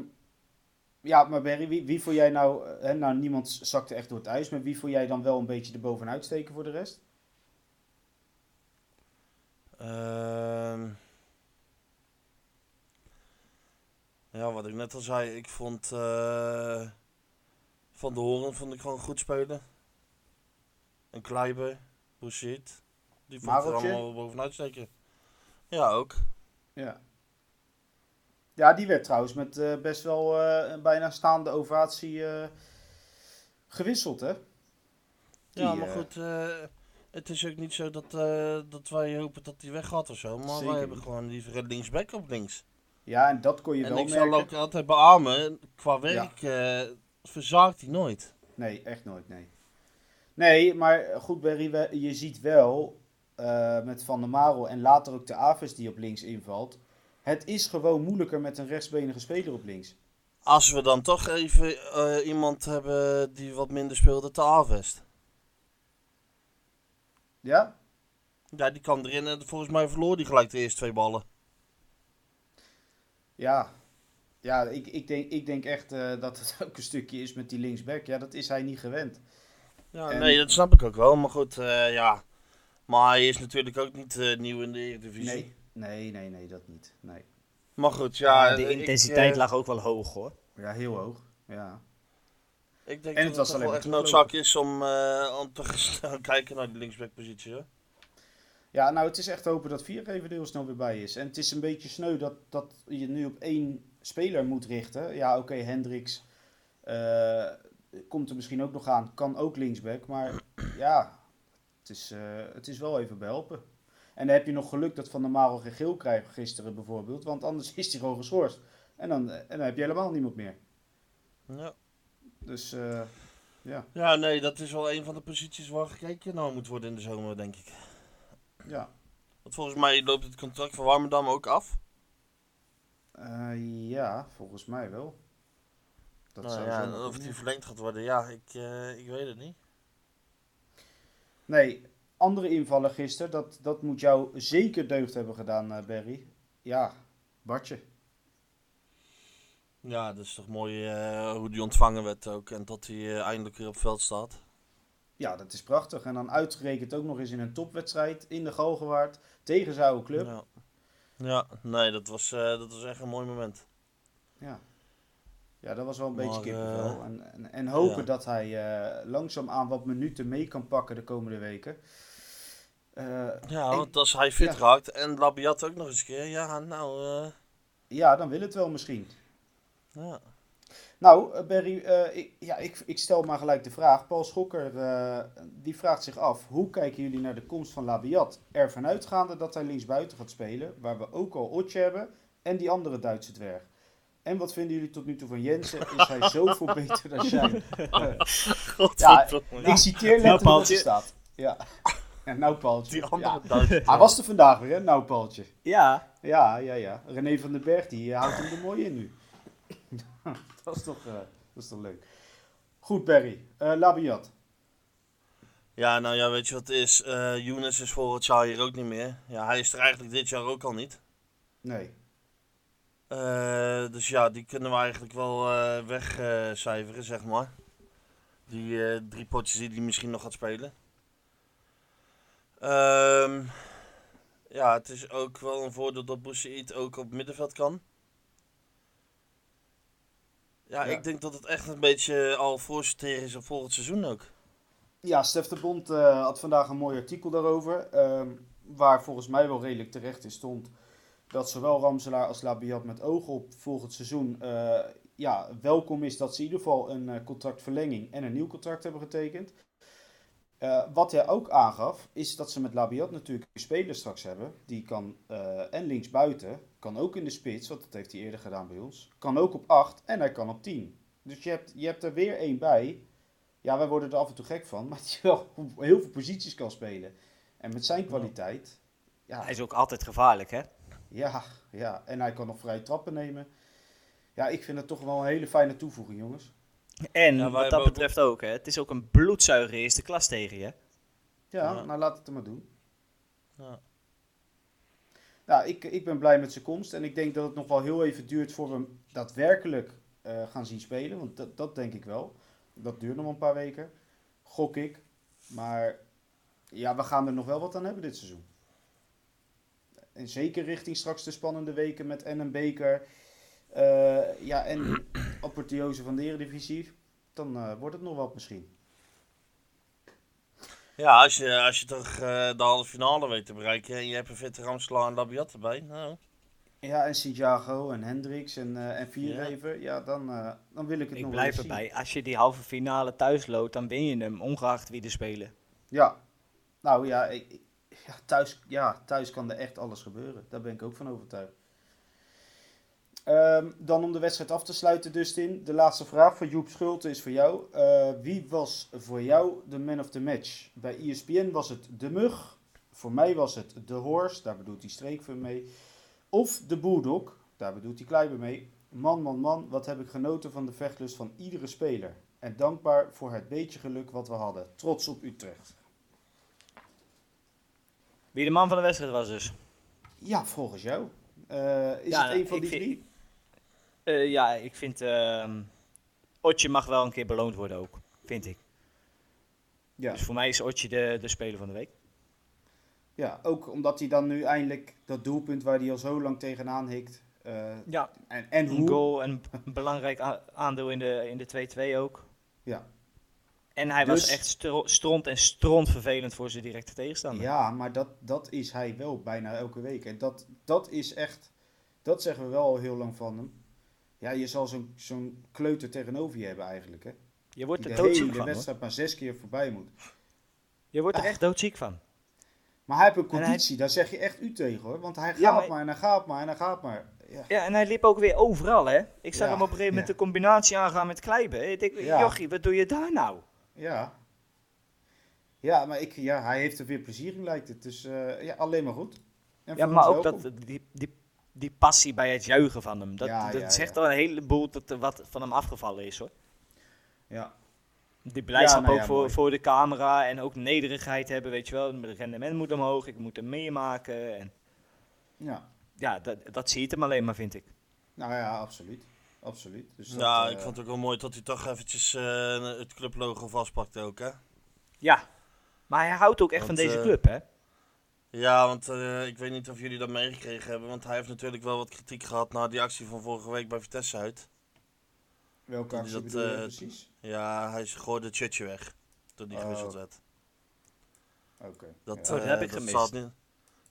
Speaker 1: ja, maar Berry, wie, wie vond jij nou. eh, Hè, nou, niemand zakte echt door het ijs. Maar wie vond jij dan wel een beetje erbovenuit steken voor de rest?
Speaker 2: Ehm. ja, wat ik net al zei, ik vond eh, Van de Horen vond ik gewoon goed spelen. En Kleiber, Bouchit, die vond er
Speaker 1: Mareltje?
Speaker 2: allemaal bovenuit steken. Ja, ook.
Speaker 1: Ja. Ja, die werd trouwens met eh, best wel eh, een bijna staande ovatie eh, gewisseld, hè? Die,
Speaker 2: Ja, maar
Speaker 1: eh,
Speaker 2: goed, eh, het is ook niet zo dat, eh, dat wij hopen dat hij weg gaat of zo. Maar
Speaker 1: Zeker
Speaker 2: wij hebben
Speaker 1: niet.
Speaker 2: gewoon liever linksback op links.
Speaker 1: Ja, en dat kon je
Speaker 2: en
Speaker 1: wel
Speaker 2: ik
Speaker 1: merken.
Speaker 2: zal ook altijd beamen, qua werk eh, verzaakt hij nooit.
Speaker 1: Nee, echt nooit, nee. Nee, maar goed, Berry, we- je ziet wel eh, met Van der Marel en later ook de Aves die op links invalt. Het is gewoon moeilijker met een rechtsbenige speler op links.
Speaker 2: Als we dan toch even eh, iemand hebben die wat minder speelde te Avest.
Speaker 1: Ja?
Speaker 2: Ja, die kan erin en volgens mij verloor die gelijk de eerste twee ballen.
Speaker 1: Ja. Ja, ik, ik, denk, ik denk echt eh, dat het [LAUGHS] ook een stukje is met die linksback. Ja, dat is hij niet gewend.
Speaker 2: Ja,
Speaker 1: En-
Speaker 2: nee, dat snap ik ook wel. Maar goed, eh, ja. Maar hij is natuurlijk ook niet eh, nieuw in de Eredivisie.
Speaker 1: Nee, nee, nee, nee dat niet. Nee.
Speaker 2: Maar goed, ja.
Speaker 3: de
Speaker 2: eh, ik,
Speaker 3: intensiteit
Speaker 2: eh,
Speaker 3: lag ook wel hoog, hoor.
Speaker 1: Ja, heel hoog. Ja.
Speaker 2: Ik denk
Speaker 1: En het
Speaker 2: dat
Speaker 1: was
Speaker 2: het toch
Speaker 1: alleen
Speaker 2: wel
Speaker 1: maar
Speaker 2: echt
Speaker 1: teruglopen.
Speaker 2: noodzaak is om, eh, om te [LAUGHS] gaan kijken naar die linksbackpositie. hoor.
Speaker 1: Ja, nou, het is echt hopen dat Viergever er heel snel weer bij is. En het is een beetje sneu dat, dat je nu op één speler moet richten. Ja, oké, Hendricks eh, komt er misschien ook nog aan. Kan ook linksback. Maar [CLEARS THROAT] ja, het is, eh, het is wel even behelpen. En dan heb je nog geluk dat Van der Marel geen geel krijgt gisteren bijvoorbeeld. Want anders [LAUGHS] is hij gewoon geschorst. En dan, eh, en dan heb je helemaal niemand meer.
Speaker 2: Ja.
Speaker 1: Dus eh, ja,
Speaker 2: ja, nee, dat is wel een van de posities waar gekeken naar moet worden in de zomer, denk ik.
Speaker 1: ja.
Speaker 2: Want volgens mij loopt het contract van Warmerdam ook af.
Speaker 1: Eh, ja, volgens mij wel. Dat
Speaker 2: nou
Speaker 1: zou
Speaker 2: ja,
Speaker 1: zomaar
Speaker 2: of
Speaker 1: kunnen.
Speaker 2: die verlengd gaat worden, ja, ik, eh, ik weet het niet.
Speaker 1: Nee, andere invallen gisteren, dat, dat moet jou zeker deugd hebben gedaan, eh, Barry. Ja, Bartje.
Speaker 2: Ja, dat is toch mooi eh, hoe die ontvangen werd ook. En dat hij eh, eindelijk weer op veld staat.
Speaker 1: Ja, dat is prachtig. En dan uitgerekend ook nog eens in een topwedstrijd in de Galgenwaard tegen zijn oude club.
Speaker 2: Ja. ja, nee, dat was, eh, dat was echt een mooi moment.
Speaker 1: Ja, ja dat was wel een
Speaker 2: Maar,
Speaker 1: beetje kippenvel.
Speaker 2: eh,
Speaker 1: en, en, en hopen
Speaker 2: ja.
Speaker 1: dat hij langzaam langzaamaan wat minuten mee kan pakken de komende weken. Eh,
Speaker 2: Ja,
Speaker 1: Ik-
Speaker 2: want als hij fit
Speaker 1: ja.
Speaker 2: raakt en Labiat ook nog eens een keer. Ja, nou, eh,
Speaker 1: ja, dan wil het wel misschien.
Speaker 2: ja.
Speaker 1: Nou, eh, Barry, eh, ik, ja, ik, ik stel maar gelijk de vraag. Paul Schokker eh, die vraagt zich af: hoe kijken jullie naar de komst van Labiat? Ervan uitgaande dat hij linksbuiten gaat spelen, waar we ook al Otje hebben en die andere Duitse dwerg. En wat vinden jullie tot nu toe van Jensen? Is
Speaker 2: [LAUGHS]
Speaker 1: hij zoveel beter dan Shine?
Speaker 2: Godverdomme.
Speaker 1: Ik citeer letterlijk wat
Speaker 3: Paaltje.
Speaker 1: er staat. Ja. En nou, Paaltje.
Speaker 2: die
Speaker 1: Ja.
Speaker 2: andere
Speaker 1: [LAUGHS]
Speaker 2: Duitse.
Speaker 1: Hij was er vandaag weer, hè? Nou, Paaltje.
Speaker 3: Ja,
Speaker 1: Ja, ja, ja. René van den Berg, die eh, houdt hem er mooi in nu. [LAUGHS] dat, is toch, eh, dat is toch leuk. Goed, Barry. Eh, Labiat.
Speaker 2: Ja, nou ja, weet je wat het is? Eh Younes is volgend jaar hier ook niet meer. Ja, hij is er eigenlijk dit jaar ook al niet.
Speaker 1: Nee.
Speaker 2: Eh, dus ja, die kunnen we eigenlijk wel eh wegcijferen, zeg maar. Die eh, drie potjes die hij misschien nog gaat spelen. Ehm, ja, het is ook wel een voordeel dat Boussaïd ook op middenveld kan. Ja,
Speaker 1: Ja.
Speaker 2: ik denk dat het echt een beetje al voorsorteren is op volgend seizoen ook.
Speaker 1: Ja, Stef de Bond eh, had vandaag een mooi artikel daarover. ehm, waar volgens mij wel redelijk terecht in stond. Dat zowel Ramselaar als Labiat met oog op volgend seizoen. eh, ja, welkom is dat ze in ieder geval een eh, contractverlenging en een nieuw contract hebben getekend. Eh, wat hij ook aangaf, is dat ze met Labiat natuurlijk een speler straks hebben. Die kan eh, en linksbuiten, kan ook in de spits, want dat heeft hij eerder gedaan bij ons. Kan ook op 8 en hij kan op 10. Dus je hebt, je hebt er weer één bij. Ja, wij worden er af en toe gek van, [LAUGHS] maar die wel op heel veel posities kan spelen. En met zijn kwaliteit. Ja,
Speaker 3: hij is ook altijd gevaarlijk, hè?
Speaker 1: ja, ja. En hij kan nog vrije trappen nemen. Ja, ik vind het toch wel een hele fijne toevoeging, jongens.
Speaker 3: En
Speaker 2: wij
Speaker 3: wat
Speaker 2: hebben
Speaker 3: dat
Speaker 2: ook-
Speaker 3: betreft ook, hè? Het is ook een bloedzuiger eerste klas tegen je.
Speaker 1: Ja,
Speaker 2: Ja.
Speaker 1: nou laat het er maar doen.
Speaker 2: Ja.
Speaker 1: Nou, ik, ik ben blij met zijn komst. En ik denk dat het nog wel heel even duurt voor we hem daadwerkelijk eh, gaan zien spelen. Want dat, dat denk ik wel. Dat duurt nog wel een paar weken. Gok ik. Maar ja, we gaan er nog wel wat aan hebben dit seizoen. En zeker richting straks de spannende weken met en een beker. eh, ja, en [CLEARS THROAT] apotheose van de Eredivisie. Dan eh, wordt het nog wat misschien.
Speaker 2: Ja, als je, als je toch eh, de halve finale weet te bereiken en je hebt een fitte Ramselaar en Labiat erbij. Nou,
Speaker 1: Ja, en Santiago en Hendricks en, eh en Vierhever. Ja, dan, eh, dan wil ik het
Speaker 3: Ik
Speaker 1: nog
Speaker 3: blijf
Speaker 1: wel eens zien.
Speaker 3: erbij. Als je die halve finale thuis loopt, dan win je hem, ongeacht wie er spelen.
Speaker 1: Ja. Nou ja, ik- ik- ja, thuis, ja, thuis kan er echt alles gebeuren. Daar ben ik ook van overtuigd. Ehm, dan om de wedstrijd af te sluiten, Dustin. De laatste vraag van Joep Schulte is voor jou. Eh, wie was voor jou de man of the match? Bij E ESPN was het de mug. Voor mij was het de horse. Daar bedoelt die streekfun mee. Of de bulldog. Daar bedoelt die kleiber mee. Man, man, man. Wat heb ik genoten van de vechtlust van iedere speler. En dankbaar voor het beetje geluk wat we hadden. Trots op Utrecht.
Speaker 3: Wie de man van de wedstrijd was dus.
Speaker 1: Ja, volgens jou. Eh, is
Speaker 3: Ja, nou,
Speaker 1: het een van
Speaker 3: ik
Speaker 1: die
Speaker 3: vind-
Speaker 1: drie?
Speaker 3: Eh, ja, ik vind... ehm Otje mag wel een keer beloond worden ook, vind ik.
Speaker 1: Ja.
Speaker 3: Dus voor mij is Otje de, de speler van de week.
Speaker 1: ja, ook omdat hij dan nu eindelijk dat doelpunt waar hij al zo lang tegenaan hikt. eh,
Speaker 3: Ja,
Speaker 1: en, en
Speaker 3: een
Speaker 1: hoe?
Speaker 3: goal en een belangrijk a- aandeel in de, in de 2-2 ook.
Speaker 1: Ja.
Speaker 3: En hij was
Speaker 1: Dus-
Speaker 3: echt stro stront en stront vervelend voor zijn directe tegenstander.
Speaker 1: ja, maar dat, dat is hij wel bijna elke week. En dat, dat is echt, dat zeggen we wel al heel lang van hem. Ja, je zal zo'n zo'n kleuter tegenover je hebben eigenlijk. Hè?
Speaker 3: Je wordt
Speaker 1: Die
Speaker 3: er
Speaker 1: de hele
Speaker 3: doodziek van. hoor.
Speaker 1: wedstrijd Ah. maar zes keer voorbij moet.
Speaker 3: Je wordt er echt doodziek van.
Speaker 1: Maar hij heeft een
Speaker 3: En hij-
Speaker 1: conditie, daar zeg je echt u tegen hoor. Want hij gaat
Speaker 3: Ja,
Speaker 1: maar...
Speaker 3: maar-
Speaker 1: en hij gaat maar en hij gaat maar. Ja.
Speaker 3: Ja, en hij liep ook weer overal, hè? Ik zag
Speaker 1: Ja,
Speaker 3: hem op een gegeven moment
Speaker 1: ja.
Speaker 3: de combinatie aangaan met Kleiber. Ik denk,
Speaker 1: Ja.
Speaker 3: jochie, wat doe je daar nou?
Speaker 1: Ja. Ja, maar ik, ja, hij heeft er weer plezier in, lijkt het. Dus eh, ja, alleen maar goed. En
Speaker 3: Ja,
Speaker 1: van
Speaker 3: maar
Speaker 1: ons
Speaker 3: ook
Speaker 1: welkom.
Speaker 3: dat, die, die, die passie bij het juichen van hem. Dat,
Speaker 1: Ja,
Speaker 3: dat
Speaker 1: ja,
Speaker 3: zegt
Speaker 1: ja.
Speaker 3: al een heleboel dat er wat van hem afgevallen is, hoor.
Speaker 1: Ja.
Speaker 3: Die blijdschap
Speaker 1: Ja, nou
Speaker 3: ook
Speaker 1: ja,
Speaker 3: voor,
Speaker 1: mooi.
Speaker 3: voor de camera en ook nederigheid hebben, weet je wel. Het rendement moet omhoog, ik moet hem meemaken. En
Speaker 1: Ja,
Speaker 3: ja, dat, dat zie je het hem alleen maar, vind ik.
Speaker 1: nou ja, absoluut. Absoluut. Dus dat,
Speaker 2: ja,
Speaker 1: eh,
Speaker 2: ik vond het ook wel mooi dat hij toch eventjes eh, het clublogo vastpakte ook, hè?
Speaker 3: Ja, maar hij houdt ook echt
Speaker 2: Want,
Speaker 3: van deze
Speaker 2: eh,
Speaker 3: club, hè?
Speaker 2: Ja, want eh, ik weet niet of jullie dat meegekregen hebben, want hij heeft natuurlijk wel wat kritiek gehad na die actie van vorige week bij Vitesse uit.
Speaker 1: welke
Speaker 2: dat
Speaker 1: actie
Speaker 2: dat,
Speaker 1: bedoel je
Speaker 2: eh,
Speaker 1: precies?
Speaker 2: Ja, hij gooide het shirtje weg toen hij
Speaker 1: Oh.
Speaker 2: gewisseld werd.
Speaker 1: Oké.
Speaker 2: Dat,
Speaker 1: ja.
Speaker 3: Oh, dat
Speaker 2: eh,
Speaker 3: heb ik gemist.
Speaker 2: staat niet-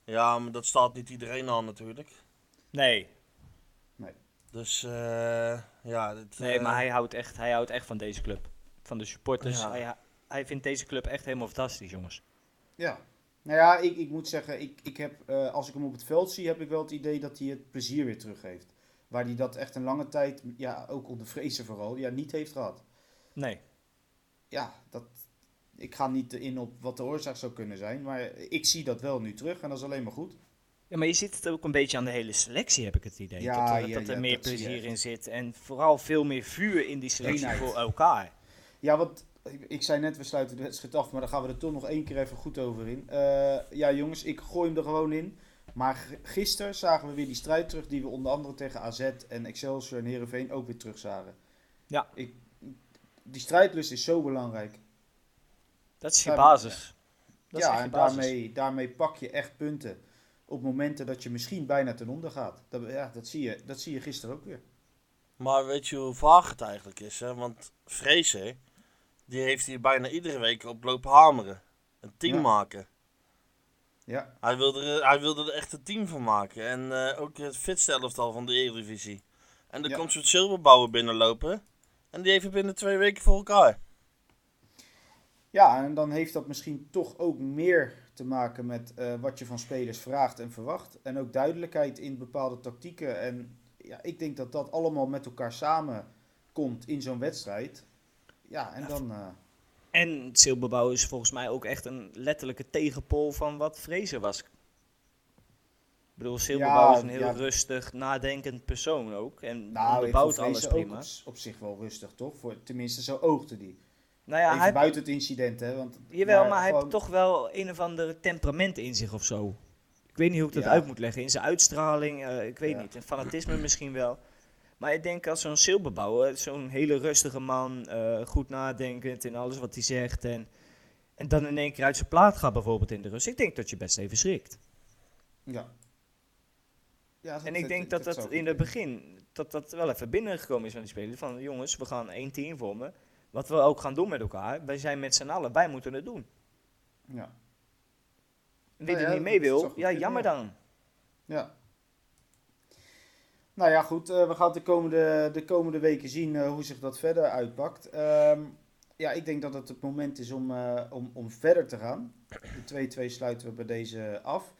Speaker 2: Ja, maar dat staat niet iedereen aan natuurlijk.
Speaker 3: Nee,
Speaker 2: Dus eh, ja, dit,
Speaker 3: nee
Speaker 2: eh,
Speaker 3: maar hij houdt, echt, hij houdt echt van deze club. Van de supporters.
Speaker 2: Ja.
Speaker 3: Hij, hij vindt deze club echt helemaal fantastisch, jongens.
Speaker 1: Ja. Nou ja, ik, ik moet zeggen, ik, ik heb, eh, als ik hem op het veld zie, heb ik wel het idee dat hij het plezier weer terug heeft. Waar hij dat echt een lange tijd, ja, ook onder vrezen vooral, ja, niet heeft gehad.
Speaker 3: Nee.
Speaker 1: Ja, dat, ik ga niet in op wat de oorzaak zou kunnen zijn, maar ik zie dat wel nu terug en dat is alleen maar goed.
Speaker 3: Ja, maar je ziet het ook een beetje aan de hele selectie, heb ik het idee.
Speaker 1: Ja,
Speaker 3: dat er,
Speaker 1: ja,
Speaker 3: dat er
Speaker 1: ja,
Speaker 3: meer
Speaker 1: dat zie je
Speaker 3: plezier
Speaker 1: echt.
Speaker 3: in zit. En vooral veel meer vuur in die selectie
Speaker 1: Eenheid.
Speaker 3: voor elkaar.
Speaker 1: Ja, want ik, ik zei net, we sluiten de wedstrijd af, maar daar gaan we er toch nog één keer even goed over in. Eh, ja, jongens, ik gooi hem er gewoon in. Maar g- gisteren zagen we weer die strijd terug die we onder andere tegen AZ en Excelsior en Heerenveen ook weer terugzagen.
Speaker 3: Ja.
Speaker 1: Ik, die strijdlust is zo belangrijk.
Speaker 3: Dat is je
Speaker 1: Ja,
Speaker 3: basis. Dat is
Speaker 1: ja,
Speaker 3: echt
Speaker 1: en
Speaker 3: je basis.
Speaker 1: daarmee, daarmee pak je echt punten op momenten dat je misschien bijna ten onder gaat. Dat, ja, dat, zie je, dat zie je gisteren ook weer.
Speaker 2: maar weet je hoe vaag het eigenlijk is, hè? Want Vreese, die heeft hier bijna iedere week op lopen hameren. Een team
Speaker 1: Ja.
Speaker 2: maken.
Speaker 1: Ja,
Speaker 2: Hij wilde, er, hij wilde er echt een team van maken. En eh, ook het fitste elftal van de Eredivisie. En dan
Speaker 1: Ja.
Speaker 2: komt zo'n zilverbouwer binnenlopen. En die heeft het binnen twee weken voor elkaar.
Speaker 1: ja en dan heeft dat misschien toch ook meer te maken met eh, wat je van spelers vraagt en verwacht. En ook duidelijkheid in bepaalde tactieken. En ja, ik denk dat dat allemaal met elkaar samenkomt in zo'n wedstrijd. Ja, en dan... eh,
Speaker 3: En Silberbouw is volgens mij ook echt een letterlijke tegenpool van wat Vrezen was. Ik bedoel, Silberbouw
Speaker 1: Ja,
Speaker 3: is een heel
Speaker 1: ja.
Speaker 3: rustig, nadenkend persoon ook. En
Speaker 1: nou, ik
Speaker 3: onderbouwt
Speaker 1: vond
Speaker 3: alles
Speaker 1: Vreese ook
Speaker 3: prima.
Speaker 1: op, op zich wel rustig, toch? Voor, tenminste, zo oogde die.
Speaker 3: Nou ja,
Speaker 1: Even
Speaker 3: hij,
Speaker 1: buiten het incident, hè? Want,
Speaker 3: jawel, maar hij
Speaker 1: gewoon-
Speaker 3: heeft toch wel een of ander temperament in zich of zo. Ik weet niet hoe ik dat
Speaker 1: Ja.
Speaker 3: uit moet leggen. In zijn uitstraling, eh, ik weet
Speaker 1: Ja.
Speaker 3: niet. En fanatisme misschien wel. Maar ik denk als zo'n Silberbouw, zo'n hele rustige man, eh, goed nadenkend in alles wat hij zegt. En, en dan in één keer uit zijn plaat gaat bijvoorbeeld in de rust. Ik denk dat je best even schrikt.
Speaker 1: Ja. ja
Speaker 3: En ik denk dat dat
Speaker 1: zou
Speaker 3: in
Speaker 1: goed
Speaker 3: het
Speaker 1: kunnen.
Speaker 3: begin dat dat wel even binnengekomen is van die spelers. Van jongens, we gaan één team vormen. Wat we ook gaan doen met elkaar. Wij zijn met z'n allen, wij moeten het doen.
Speaker 1: Ja.
Speaker 3: Wie
Speaker 1: Nou ja,
Speaker 3: er niet
Speaker 1: dat
Speaker 3: mee
Speaker 1: zou
Speaker 3: wil,
Speaker 1: goed
Speaker 3: ja
Speaker 1: kunnen,
Speaker 3: jammer
Speaker 1: ja.
Speaker 3: dan.
Speaker 1: ja. Nou ja, goed. eh, we gaan de komende, de komende weken zien eh, hoe zich dat verder uitpakt. Ehm, ja, ik denk dat het het moment is om, eh, om, om verder te gaan. De 2-2 sluiten we bij deze af.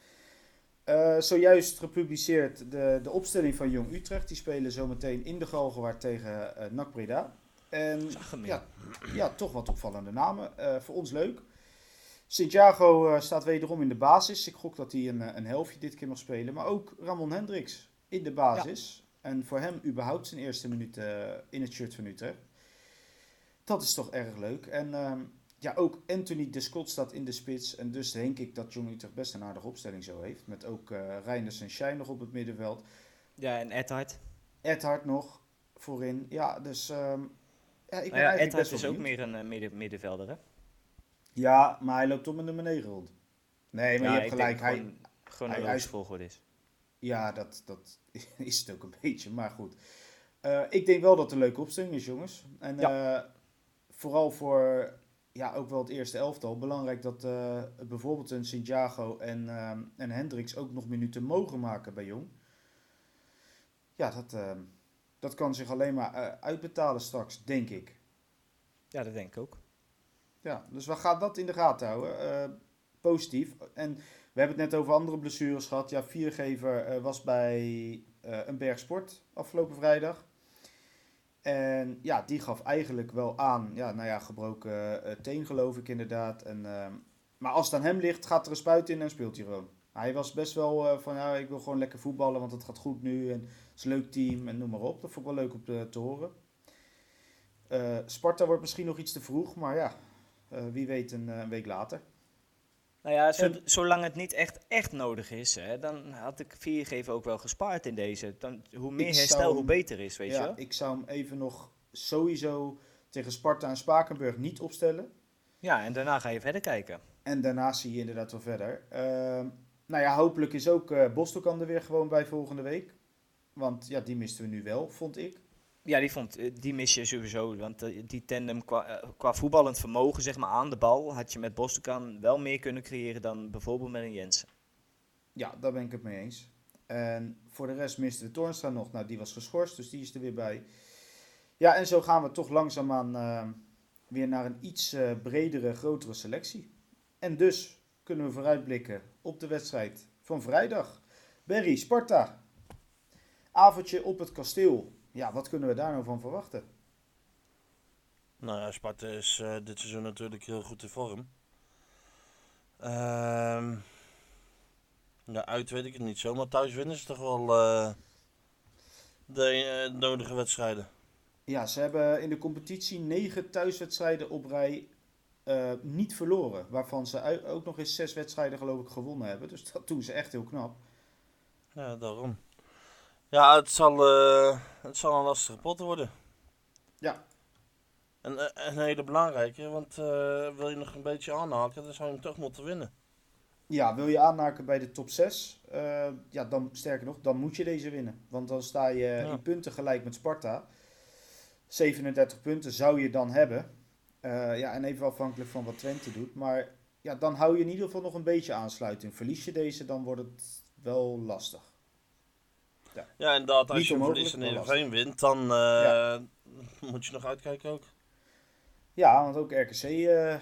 Speaker 1: Eh, zojuist gepubliceerd de, de opstelling van Jong Utrecht. Die spelen zometeen in de Galgenwaard tegen eh NAC Breda. En
Speaker 3: Zag hem
Speaker 1: Ja, ja, toch wat opvallende namen. Eh, voor ons leuk. Santiago eh, staat wederom in de basis. Ik gok dat hij een, eh, een helftje dit keer mag spelen. Maar ook Ramon Hendricks in de basis. En voor hem überhaupt zijn eerste minuut eh, in het shirt van Utrecht. Dat is toch erg leuk. En ehm, ja, ook Anthony de Scott staat in de spits. En dus denk ik dat Jong Utrecht best een aardige opstelling zo heeft. Met ook eh Reinders en Schijn nog op het middenveld.
Speaker 3: Ja, en Edhard.
Speaker 1: Edhard nog voorin. Ja, dus ehm, ja, ik ben
Speaker 3: Nou ja,
Speaker 1: eigenlijk
Speaker 3: Edhard
Speaker 1: best
Speaker 3: is
Speaker 1: wel
Speaker 3: ook
Speaker 1: benieuwd.
Speaker 3: meer een eh, midden, middenvelder, hè?
Speaker 1: Ja, maar hij loopt om in nummer 9 rond. Nee, maar
Speaker 3: Ja,
Speaker 1: je hebt
Speaker 3: ik denk
Speaker 1: gelijk. Hij,
Speaker 3: Gewoon, gewoon
Speaker 1: hij-
Speaker 3: een
Speaker 1: hij-
Speaker 3: logische volgorde is.
Speaker 1: Ja, dat, dat [LAUGHS] is het ook een beetje, maar goed. Eh, ik denk wel dat het een leuke opstelling is, jongens. En eh, vooral voor ja, ook wel het eerste elftal. Belangrijk dat eh, bijvoorbeeld een Santiago en, ehm en Hendricks ook nog minuten mogen maken bij Jong. Ja, dat, ehm, dat kan zich alleen maar eh, uitbetalen straks, denk ik.
Speaker 3: Ja, dat denk ik ook.
Speaker 1: Ja, dus we gaan dat in de gaten houden. Eh, positief. En we hebben het net over andere blessures gehad. Ja, Viergever eh, was bij eh, een bergsport afgelopen vrijdag. En ja, die gaf eigenlijk wel aan. Ja, nou ja, gebroken eh, teen geloof ik inderdaad. En, ehm, maar als het aan hem ligt, gaat er een spuit in en speelt hij gewoon. Hij was best wel eh, van, ja, ik wil gewoon lekker voetballen, want het gaat goed nu. En het is een leuk team en noem maar op. Dat vond ik wel leuk om te, te horen. Eh, Sparta wordt misschien nog iets te vroeg, maar ja, eh, wie weet een, eh, een week later.
Speaker 3: Nou ja, zo- zolang het niet echt, echt nodig is, hè, dan had ik viergeven ook wel gespaard in deze. Dan, hoe meer
Speaker 1: Ik
Speaker 3: herstel,
Speaker 1: zou-
Speaker 3: hoe beter is, weet je
Speaker 1: ja,
Speaker 3: wel?
Speaker 1: ik zou hem even nog sowieso tegen Sparta en Spakenburg niet opstellen.
Speaker 3: Ja, en daarna ga je verder kijken.
Speaker 1: En daarna zie je inderdaad wel verder. Ehm, nou ja, hopelijk is ook eh Bostelkan er weer gewoon bij volgende week. Want ja, die misten we nu wel, vond ik.
Speaker 3: Ja, die, vond, eh, die mis je sowieso, want eh, die tandem qua, eh, qua voetballend vermogen, zeg maar, aan de bal, had je met Bostokan wel meer kunnen creëren dan bijvoorbeeld met een Jensen.
Speaker 1: Ja, daar ben ik het mee eens. En voor de rest miste we Toornstra nog. Nou, die was geschorst, dus die is er weer bij. Ja, en zo gaan we toch langzaamaan eh, weer naar een iets eh, bredere, grotere selectie. En dus kunnen we vooruitblikken op de wedstrijd van vrijdag. Berry, Sparta. Avondje op het kasteel. Ja, wat kunnen we daar nou van verwachten?
Speaker 2: Nou ja, Sparta is eh, dit seizoen natuurlijk heel goed in vorm. Ehm ja, uit weet ik het niet zo, maar thuis winnen ze toch wel eh, de eh, nodige wedstrijden.
Speaker 1: Ja, ze hebben in de competitie negen thuiswedstrijden op rij eh, niet verloren. Waarvan ze ui- ook nog eens zes wedstrijden geloof ik gewonnen hebben. Dus dat doen ze echt heel knap.
Speaker 2: Ja, daarom. Ja, het zal, eh, het zal een lastige pot worden.
Speaker 1: Ja.
Speaker 2: En eh, een hele belangrijke, want eh, wil je nog een beetje aanhaken, dan zou je hem toch moeten winnen.
Speaker 1: Ja, wil je aanhaken bij de top 6? ja, dan, sterker nog, dan moet je deze winnen. Want dan sta je
Speaker 2: Ja.
Speaker 1: in punten gelijk met Sparta. 37 punten zou je dan hebben. Eh, ja, en even afhankelijk van wat Twente doet. Maar ja, dan hou je in ieder geval nog een beetje aansluiting. Verlies je deze, dan wordt het wel lastig.
Speaker 2: Ja, inderdaad, als
Speaker 1: Niet
Speaker 2: je
Speaker 1: onmogelijk,
Speaker 2: verliest en
Speaker 1: maar
Speaker 2: Heerenveen wint, dan eh,
Speaker 1: Ja.
Speaker 2: moet je nog uitkijken ook.
Speaker 1: Ja, want ook RKC eh,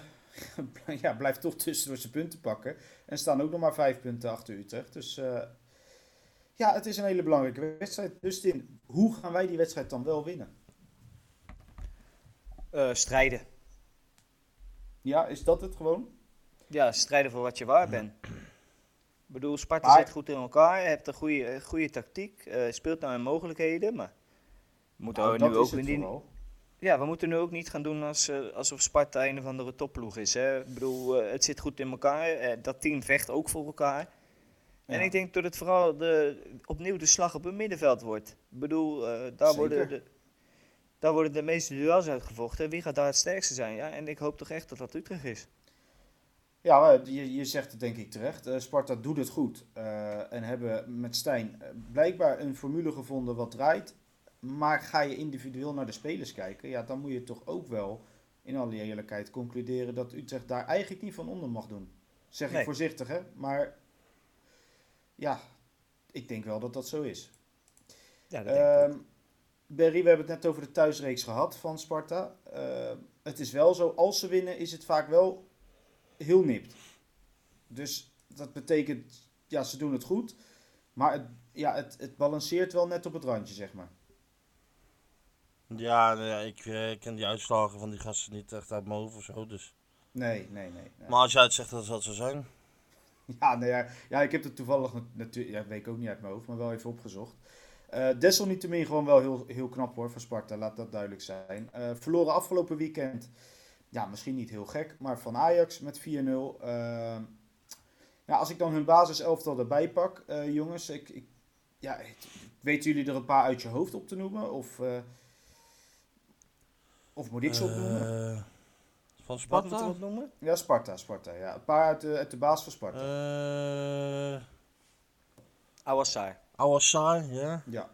Speaker 1: [LAUGHS] ja, blijft toch tussendoor zijn punten pakken. En staan ook nog maar vijf punten achter Utrecht. Dus eh, ja, het is een hele belangrijke wedstrijd. Dus Tim, hoe gaan wij die wedstrijd dan wel winnen?
Speaker 3: Eh, strijden.
Speaker 1: Ja, is dat het gewoon?
Speaker 3: Ja, strijden voor wat je waar bent. Ik bedoel, Sparta
Speaker 1: Maar-
Speaker 3: zit goed in elkaar, hebt een goede, eh, goede tactiek, eh, speelt nou in mogelijkheden, maar... we moeten
Speaker 1: Nou,
Speaker 3: we nu
Speaker 1: dat
Speaker 3: ook
Speaker 1: is het
Speaker 3: niet-
Speaker 1: vooral.
Speaker 3: Ja, we moeten nu ook niet gaan doen als, eh, alsof Sparta een of andere topploeg is. Hè? Ik bedoel, eh, het zit goed in elkaar. eh, dat team vecht ook voor elkaar. En
Speaker 1: Ja.
Speaker 3: ik denk dat het vooral de, opnieuw de slag op het middenveld wordt. Ik bedoel, eh, daar,
Speaker 1: Zeker.
Speaker 3: worden de, daar worden de meeste duels uitgevochten. Wie gaat daar het sterkste zijn? Ja, en ik hoop toch echt dat dat Utrecht is.
Speaker 1: Ja, maar je, je zegt het denk ik terecht. Eh, Sparta doet het goed. Eh, en hebben met Stijn eh, blijkbaar een formule gevonden wat draait. Maar ga je individueel naar de spelers kijken, ja, dan moet je toch ook wel in alle eerlijkheid concluderen dat Utrecht daar eigenlijk niet van onder mag doen. Zeg ik
Speaker 3: Nee.
Speaker 1: voorzichtig, hè? Maar ja, ik denk wel dat dat zo is.
Speaker 3: Ja, dat denk ik ook.
Speaker 1: Ehm Berry, we hebben het net over de thuisreeks gehad van Sparta. Ehm, het is wel zo, als ze winnen is het vaak wel heel nipt. Dus dat betekent, ja, ze doen het goed. Maar het, ja, het, het balanceert wel net op het randje, zeg maar.
Speaker 2: Ja, nou ja, ik eh, ken die uitslagen van die gasten niet echt uit mijn hoofd of zo. Dus.
Speaker 1: Nee, nee, nee. nee.
Speaker 2: Maar als jij het zegt, dan zal het zo zijn.
Speaker 1: Ja, nou ja, ja, ik heb het toevallig, natuurlijk, ja, weet ik ook niet uit mijn hoofd, maar wel even opgezocht. Eh, desalniettemin gewoon wel heel, heel knap hoor van Sparta, laat dat duidelijk zijn. Eh, verloren afgelopen weekend, ja, misschien niet heel gek, maar van Ajax met 4-0. Ehm, ja, als ik dan hun basiselftal erbij pak, eh, jongens, ik, ik, ja, het- weten jullie er een paar uit je hoofd op te noemen? Of, eh, of moet ik ze opnoemen?
Speaker 2: Eh, van
Speaker 3: Wat moeten
Speaker 2: Sparta?
Speaker 3: we dat noemen?
Speaker 1: ja, Sparta, Sparta, ja. Een paar uit de, uit de baas van Sparta.
Speaker 2: Eh,
Speaker 3: Awassar.
Speaker 2: Awassar, ja.
Speaker 1: ja.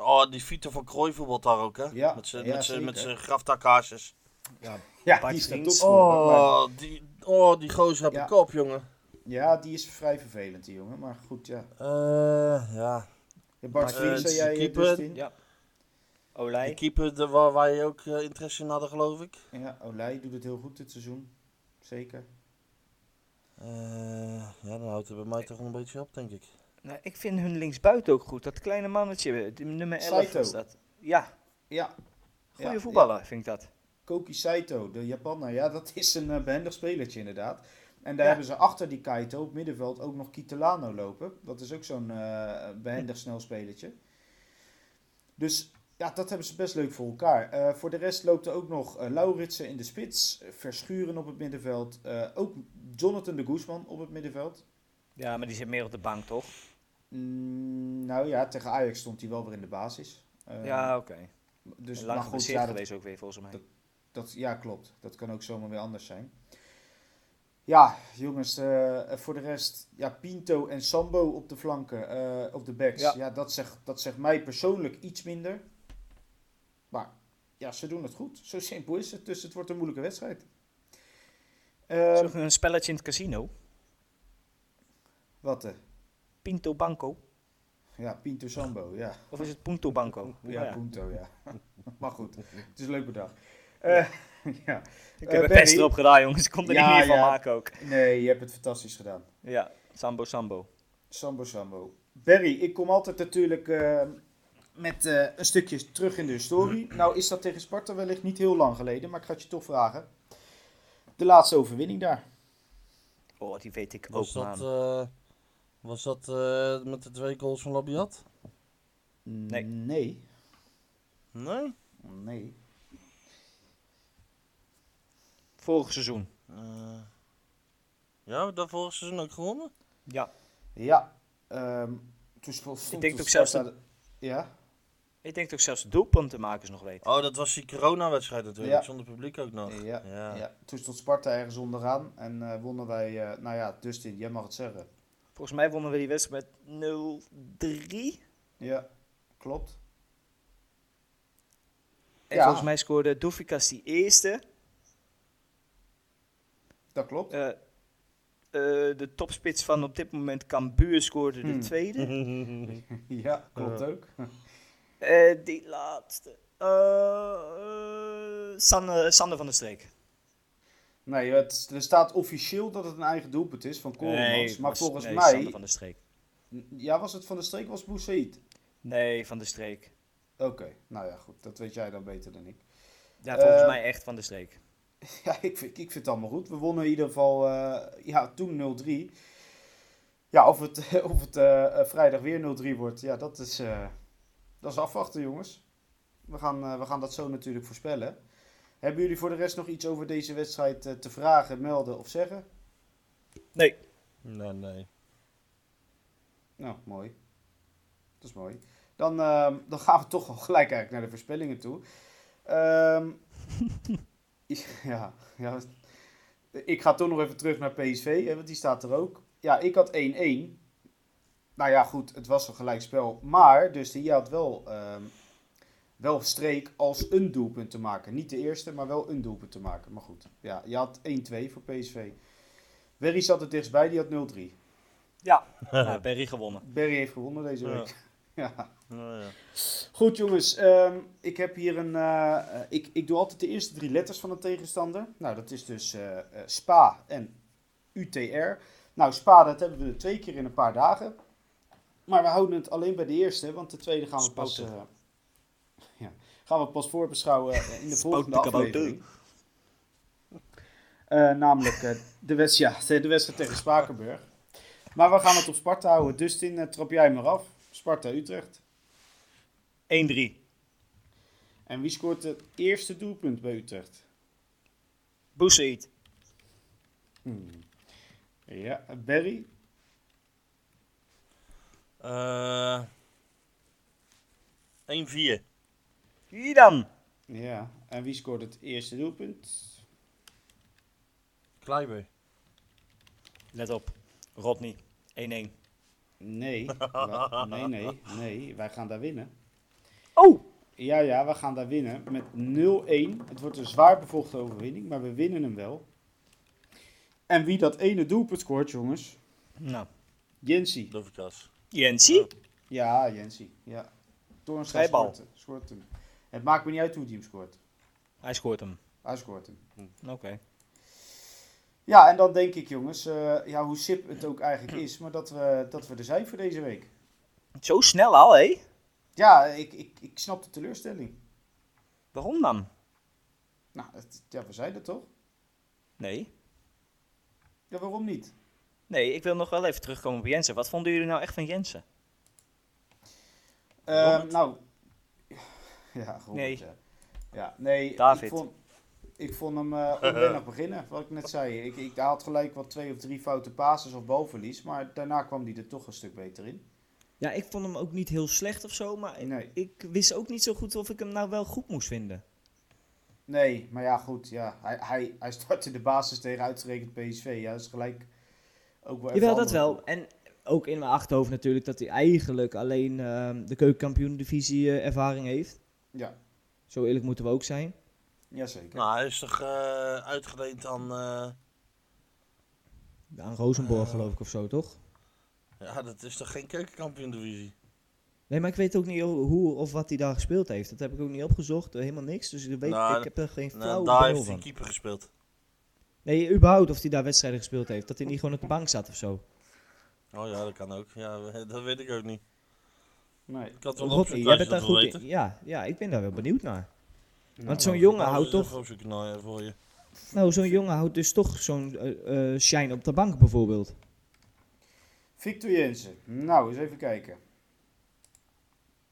Speaker 2: Oh, die Vito van Krooi voetbalt daar ook, hè?
Speaker 1: Ja,
Speaker 2: Met zijn
Speaker 1: ja,
Speaker 2: met zijn-
Speaker 1: zeker.
Speaker 2: met zijn graftakaarsjes.
Speaker 1: Ja,
Speaker 3: Bart
Speaker 1: die staat ook
Speaker 3: Vriends.
Speaker 1: voor, maar-
Speaker 2: Oh, die, oh, die gozer heb
Speaker 1: Ja.
Speaker 2: ik op, jongen.
Speaker 1: Ja, die is vrij vervelend, die jongen. Maar goed, ja.
Speaker 2: Eh, ja.
Speaker 1: ja
Speaker 3: Maar,
Speaker 1: Bart
Speaker 3: eh,
Speaker 1: Vriend,
Speaker 2: het
Speaker 1: zei
Speaker 2: is
Speaker 1: jij
Speaker 2: de
Speaker 1: eh,
Speaker 2: keeper.
Speaker 1: Dustin? Ja,
Speaker 3: Ja. Olij.
Speaker 2: Die keeper de, waar, waar je ook eh, interesse in hadden, geloof ik.
Speaker 1: Olij doet het heel goed dit seizoen. Zeker.
Speaker 2: Eh, ja, dan houdt het bij mij toch wel een beetje op, denk ik.
Speaker 3: Nou, ik vind hun linksbuiten ook goed. Dat kleine mannetje, eh, die nummer 11
Speaker 1: Saito.
Speaker 3: was dat. Ja,
Speaker 1: Ja,
Speaker 3: goede
Speaker 1: Ja,
Speaker 3: voetballer vind ik dat.
Speaker 1: Koki Saito, de Japaner. Ja, dat is een eh, behendig spelertje inderdaad. En daar
Speaker 3: Ja.
Speaker 1: hebben ze achter die Kaito op middenveld ook nog Kitolano lopen. Dat is ook zo'n eh behendig snel spelertje. Dus Ja, dat hebben ze best leuk voor elkaar. Eh, voor de rest loopt er ook nog eh, Lauritsen in de spits, eh, Verschuren op het middenveld, eh, ook Jonathan de Guzman op het middenveld.
Speaker 3: Ja, maar die zit meer op de bank, toch?
Speaker 1: Mm, nou ja, tegen Ajax stond hij wel weer in de basis. Eh,
Speaker 3: ja, oké.
Speaker 1: dus
Speaker 3: Lang
Speaker 1: maar goed, ja,
Speaker 3: geblesseerd
Speaker 1: dat,
Speaker 3: geweest ook weer, volgens mij.
Speaker 1: dat- dat, ja, klopt. Dat kan ook zomaar weer anders zijn. Ja, jongens, eh, eh, voor de rest, ja, Pinto en Sambo op de flanken, eh, op de backs. Ja,
Speaker 3: Ja.
Speaker 1: dat, zegt, dat zegt mij persoonlijk iets minder. Maar ja, ze doen het goed. Zo simpel is het, dus het wordt een moeilijke wedstrijd. Ehm,
Speaker 3: Zo'n een spelletje in het casino.
Speaker 1: wat? eh,
Speaker 3: Pinto Banco.
Speaker 1: ja, Pinto Sambo, ja.
Speaker 3: Of is het Punto Banco?
Speaker 1: Ja,
Speaker 3: Ja.
Speaker 1: Punto, ja. [LAUGHS] maar goed, het is een leuk bedrag. Eh, [LAUGHS] ja.
Speaker 3: Ik
Speaker 1: Eh,
Speaker 3: heb er
Speaker 1: Benny?
Speaker 3: best erop gedaan, jongens. Ik kon er
Speaker 1: Ja,
Speaker 3: niet meer van
Speaker 1: ja.
Speaker 3: maken ook.
Speaker 1: Nee, je hebt het fantastisch gedaan.
Speaker 3: Ja, Sambo Sambo.
Speaker 1: Sambo Sambo. Barry, ik kom altijd natuurlijk eh, met eh, een stukje terug in de
Speaker 3: Hm.
Speaker 1: historie. Nou is dat tegen Sparta wellicht niet heel lang geleden, maar ik ga het je toch vragen. De laatste overwinning daar.
Speaker 3: Oh, die weet ik
Speaker 2: Was
Speaker 3: ook, man.
Speaker 2: dat, eh, was dat eh, met de twee goals van Labiat?
Speaker 1: Nee.
Speaker 3: Nee.
Speaker 1: Nee.
Speaker 2: Nee?
Speaker 1: Nee.
Speaker 3: Vorig seizoen.
Speaker 2: Eh, ja, we dat vorig seizoen ook gewonnen?
Speaker 3: Ja.
Speaker 1: Ja. ehm, toen spo- stond
Speaker 3: Ik denk
Speaker 1: toen
Speaker 3: ook zelfs
Speaker 1: Sparta de- Ja?
Speaker 3: Ik denk dat ik zelfs de doelpuntenmakers nog weet.
Speaker 2: Oh, dat was die corona-wedstrijd natuurlijk,
Speaker 1: Ja.
Speaker 2: zonder publiek ook nog.
Speaker 1: Ja, ja.
Speaker 2: Ja.
Speaker 1: Toen stond Sparta ergens onderaan en eh, wonnen wij, eh, nou ja, Dustin, jij mag het zeggen.
Speaker 3: Volgens mij wonnen we die wedstrijd met 0-3.
Speaker 1: Ja, klopt.
Speaker 3: En
Speaker 1: Ja.
Speaker 3: volgens mij scoorde Doefikas die eerste.
Speaker 1: Dat klopt.
Speaker 3: Eh, eh, de topspits van op dit moment Cambuur scoorde de
Speaker 1: Hmm.
Speaker 3: tweede.
Speaker 1: [LAUGHS] Ja, klopt ook. [LAUGHS]
Speaker 3: Eh, die laatste. Eh, eh, Sanne, Sander van der Streek.
Speaker 1: Nee, het, er staat officieel dat het een eigen doelpunt is van Koolmans. maar
Speaker 3: was-
Speaker 1: volgens
Speaker 3: nee, Sander
Speaker 1: mij...
Speaker 3: van der Streek.
Speaker 1: Ja, was het van de streek of was het Boussaïd?
Speaker 3: Nee, van der Streek.
Speaker 1: Oké, nou ja, goed. Dat weet jij dan beter dan ik.
Speaker 3: Ja, volgens
Speaker 1: Eh,
Speaker 3: mij echt van der Streek.
Speaker 1: [LAUGHS] Ja, ik vind, ik vind het allemaal goed. We wonnen in ieder geval eh, ja, toen 0-3. Ja, of het, [LAUGHS] of het eh, eh, vrijdag weer 0-3 wordt, ja, dat is, eh, dat is afwachten, jongens. We gaan, eh, we gaan dat zo natuurlijk voorspellen. Hebben jullie voor de rest nog iets over deze wedstrijd eh, te vragen, melden of zeggen?
Speaker 3: Nee.
Speaker 2: Nee, nee.
Speaker 1: Nou, mooi. Dat is mooi. Dan, ehm, dan gaan we toch al gelijk eigenlijk naar de voorspellingen toe. Ehm, [LAUGHS] ja, ja, ik ga toch nog even terug naar PSV, hè, want die staat er ook. Ja, ik had 1-1. Nou ja, goed, het was een gelijkspel. Maar, dus die had wel, ehm, wel streek als een doelpunt te maken. Niet de eerste, maar wel een doelpunt te maken. Maar goed, ja, je had 1-2 voor PSV. Werry zat er dichtstbij, die had 0-3.
Speaker 3: Ja, nou, Berry gewonnen.
Speaker 1: Berry heeft gewonnen deze
Speaker 2: Ja.
Speaker 1: week. [LAUGHS] ja.
Speaker 2: Nou ja.
Speaker 1: Goed jongens, ehm, ik heb hier een. eh, eh, ik, ik doe altijd de eerste drie letters van een tegenstander. Nou, dat is dus eh, eh, SPA en UTR. Nou, SPA, dat hebben we twee keer in een paar dagen. Maar we houden het alleen bij de eerste, want de tweede gaan we pas,
Speaker 3: Spoten.
Speaker 1: eh, ja, gaan we pas voorbeschouwen eh, in de volgende
Speaker 3: Spoten kabouter.
Speaker 1: aflevering. Eh, namelijk eh, de, wedst, ja, [LAUGHS] de wedstrijd tegen Spakenburg. Maar we gaan het op Sparta houden. Dustin, eh, trap jij maar af. Sparta-Utrecht.
Speaker 3: 1-3.
Speaker 1: En wie scoort het eerste doelpunt bij Utrecht?
Speaker 3: Boussaïd.
Speaker 1: Ja, Barry.
Speaker 2: Eh, 1-4.
Speaker 3: Hier dan.
Speaker 1: Ja, en wie scoort het eerste doelpunt?
Speaker 2: Kleiber.
Speaker 3: Let op. Rodney. 1-1.
Speaker 1: Nee, wa- nee, nee, nee, wij gaan daar winnen.
Speaker 3: Oh!
Speaker 1: Ja, ja, wij gaan daar winnen met 0-1. Het wordt een zwaar bevochten overwinning, maar we winnen hem wel. En wie dat ene doelpunt scoort, jongens?
Speaker 3: Nou.
Speaker 1: Jensie.
Speaker 2: Dovikas.
Speaker 3: Jensie?
Speaker 1: Ja, Jensie. Ja. Toornstra
Speaker 3: Vrijbal.
Speaker 1: scoort, hem- scoort hem. Het maakt me niet uit hoe hij hem scoort.
Speaker 3: Hij scoort hem.
Speaker 1: Hij scoort hem.
Speaker 3: Oké.
Speaker 1: Ja, en dan denk ik, jongens, eh, ja, hoe sip het ook eigenlijk is, maar dat we, dat we er zijn voor deze week.
Speaker 3: Zo snel al, hé?
Speaker 1: Ja, ik, ik, ik snap de teleurstelling.
Speaker 3: Waarom dan?
Speaker 1: Nou, het- ja, we zeiden het toch?
Speaker 3: Nee.
Speaker 1: Ja, waarom niet?
Speaker 3: Nee, ik wil nog wel even terugkomen op Jensen. Wat vonden jullie nou echt van Jensen?
Speaker 1: Ehm,
Speaker 2: Robert?
Speaker 1: nou, [LAUGHS] Ja, goed.
Speaker 3: Nee.
Speaker 1: Ja. Ja, nee,
Speaker 3: David.
Speaker 1: Ik, vond, ik vond hem eh onwennig beginnen, wat ik net zei. Ik, ik had gelijk wat twee of drie foute passes of balverlies, maar daarna kwam hij er toch een stuk beter in.
Speaker 3: Ja, ik vond hem ook niet heel slecht of zo, maar
Speaker 1: Nee.
Speaker 3: ik wist ook niet zo goed of ik hem nou wel goed moest vinden.
Speaker 1: Nee, maar ja, goed. Ja. Hij, hij, hij startte de basis tegen uitgerekend PSV. Ja, dat is gelijk ook wel even
Speaker 3: Jawel, dat
Speaker 1: andere
Speaker 3: wel.
Speaker 1: ploeg.
Speaker 3: En ook in mijn achterhoofd natuurlijk dat hij eigenlijk alleen ehm de keukenkampioen-divisie eh, ervaring heeft.
Speaker 1: Ja,
Speaker 3: Zo eerlijk moeten we ook zijn.
Speaker 1: jazeker.
Speaker 2: Nou, hij is toch eh, uitgeleend aan... eh,
Speaker 3: Aan Rosenborg
Speaker 2: Eh.
Speaker 3: geloof ik of zo, toch?
Speaker 2: ja, dat is toch geen keukenkampioen-divisie?
Speaker 3: Nee, maar ik weet ook niet ho- hoe of wat hij daar gespeeld heeft. Dat heb ik ook niet opgezocht, eh, helemaal niks. Dus ik, weet,
Speaker 2: Nou,
Speaker 3: ik heb er geen flauw
Speaker 2: Nou, daar
Speaker 3: benul
Speaker 2: heeft hij
Speaker 3: van.
Speaker 2: keeper gespeeld.
Speaker 3: Nee, überhaupt of hij daar wedstrijden gespeeld heeft. Dat hij niet gewoon op de bank zat of zo.
Speaker 2: Oh ja, dat kan ook. Ja, [LAUGHS] we- dat weet ik ook niet.
Speaker 1: Nee.
Speaker 2: Ik had wel
Speaker 3: Rodney,
Speaker 2: opzoeken
Speaker 3: jij
Speaker 2: als je
Speaker 3: bent daar
Speaker 2: dat wil
Speaker 3: goed in.
Speaker 2: weten.
Speaker 3: Ja, ja, ik ben daar wel benieuwd naar. Want zo'n
Speaker 1: Nou,
Speaker 3: jongen
Speaker 2: Nou,
Speaker 3: houdt
Speaker 2: dat is
Speaker 3: toch...
Speaker 2: een opzoeken, nou ja,
Speaker 3: [LAUGHS]
Speaker 2: voor je.
Speaker 3: Nou, zo'n jongen houdt dus toch zo'n eh, eh, shine op de bank bijvoorbeeld.
Speaker 1: Victor Jensen. Nou, eens even kijken.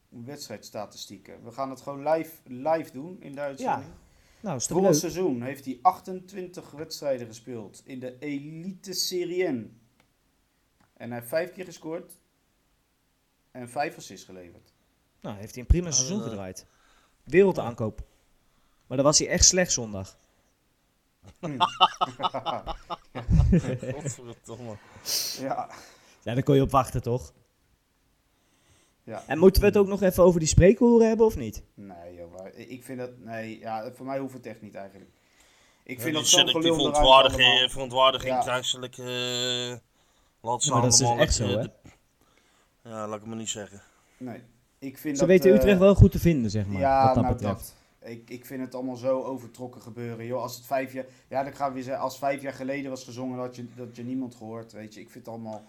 Speaker 1: Wedstrijdstatistieken. We gaan het gewoon live, live doen in de uitzending.
Speaker 3: Nou, is toch
Speaker 1: Vorig
Speaker 3: leuk?
Speaker 1: seizoen heeft hij 28 wedstrijden gespeeld in de Elite Serie N. En hij heeft vijf keer gescoord en vijf assists geleverd.
Speaker 3: Nou, heeft hij een prima
Speaker 2: Ja,
Speaker 3: seizoen
Speaker 2: dat, eh,
Speaker 3: gedraaid. Wereldaankoop. Maar dan was hij echt slecht zondag.
Speaker 2: Godverdomme.
Speaker 1: Ja,
Speaker 3: Ja, daar kon je op wachten, toch?
Speaker 1: ja.
Speaker 3: En moeten we het ook nog even over die spreekhoren hebben of niet?
Speaker 1: Nee, joh, maar ik vind dat. Nee, ja, voor mij hoeft het echt niet eigenlijk. Ik vind
Speaker 2: Ja, die
Speaker 1: dat zo'n
Speaker 2: selectieve
Speaker 1: gelul eruit allemaal.
Speaker 2: verontwaardiging, eh, verontwaardiging
Speaker 1: Ja.
Speaker 2: kruiselijk. eh, laat ze
Speaker 3: Ja, maar dat is dus
Speaker 2: allemaal
Speaker 3: echt
Speaker 2: lekker,
Speaker 3: zo,
Speaker 2: eh,
Speaker 3: hè?
Speaker 2: de- Ja, laat ik me niet zeggen.
Speaker 1: Nee, ik vind
Speaker 3: Ze
Speaker 1: dat,
Speaker 3: weten
Speaker 1: eh,
Speaker 3: Utrecht wel goed te vinden, zeg maar.
Speaker 1: Ja,
Speaker 3: wat dat
Speaker 1: nou
Speaker 3: betreft.
Speaker 1: dat. Ik, ik vind het allemaal zo overtrokken gebeuren. Joh, als het vijf jaar. Ja, dan gaan we weer zeggen. Als vijf jaar geleden was gezongen, had je, dat je niemand gehoord. Weet je, ik vind het allemaal.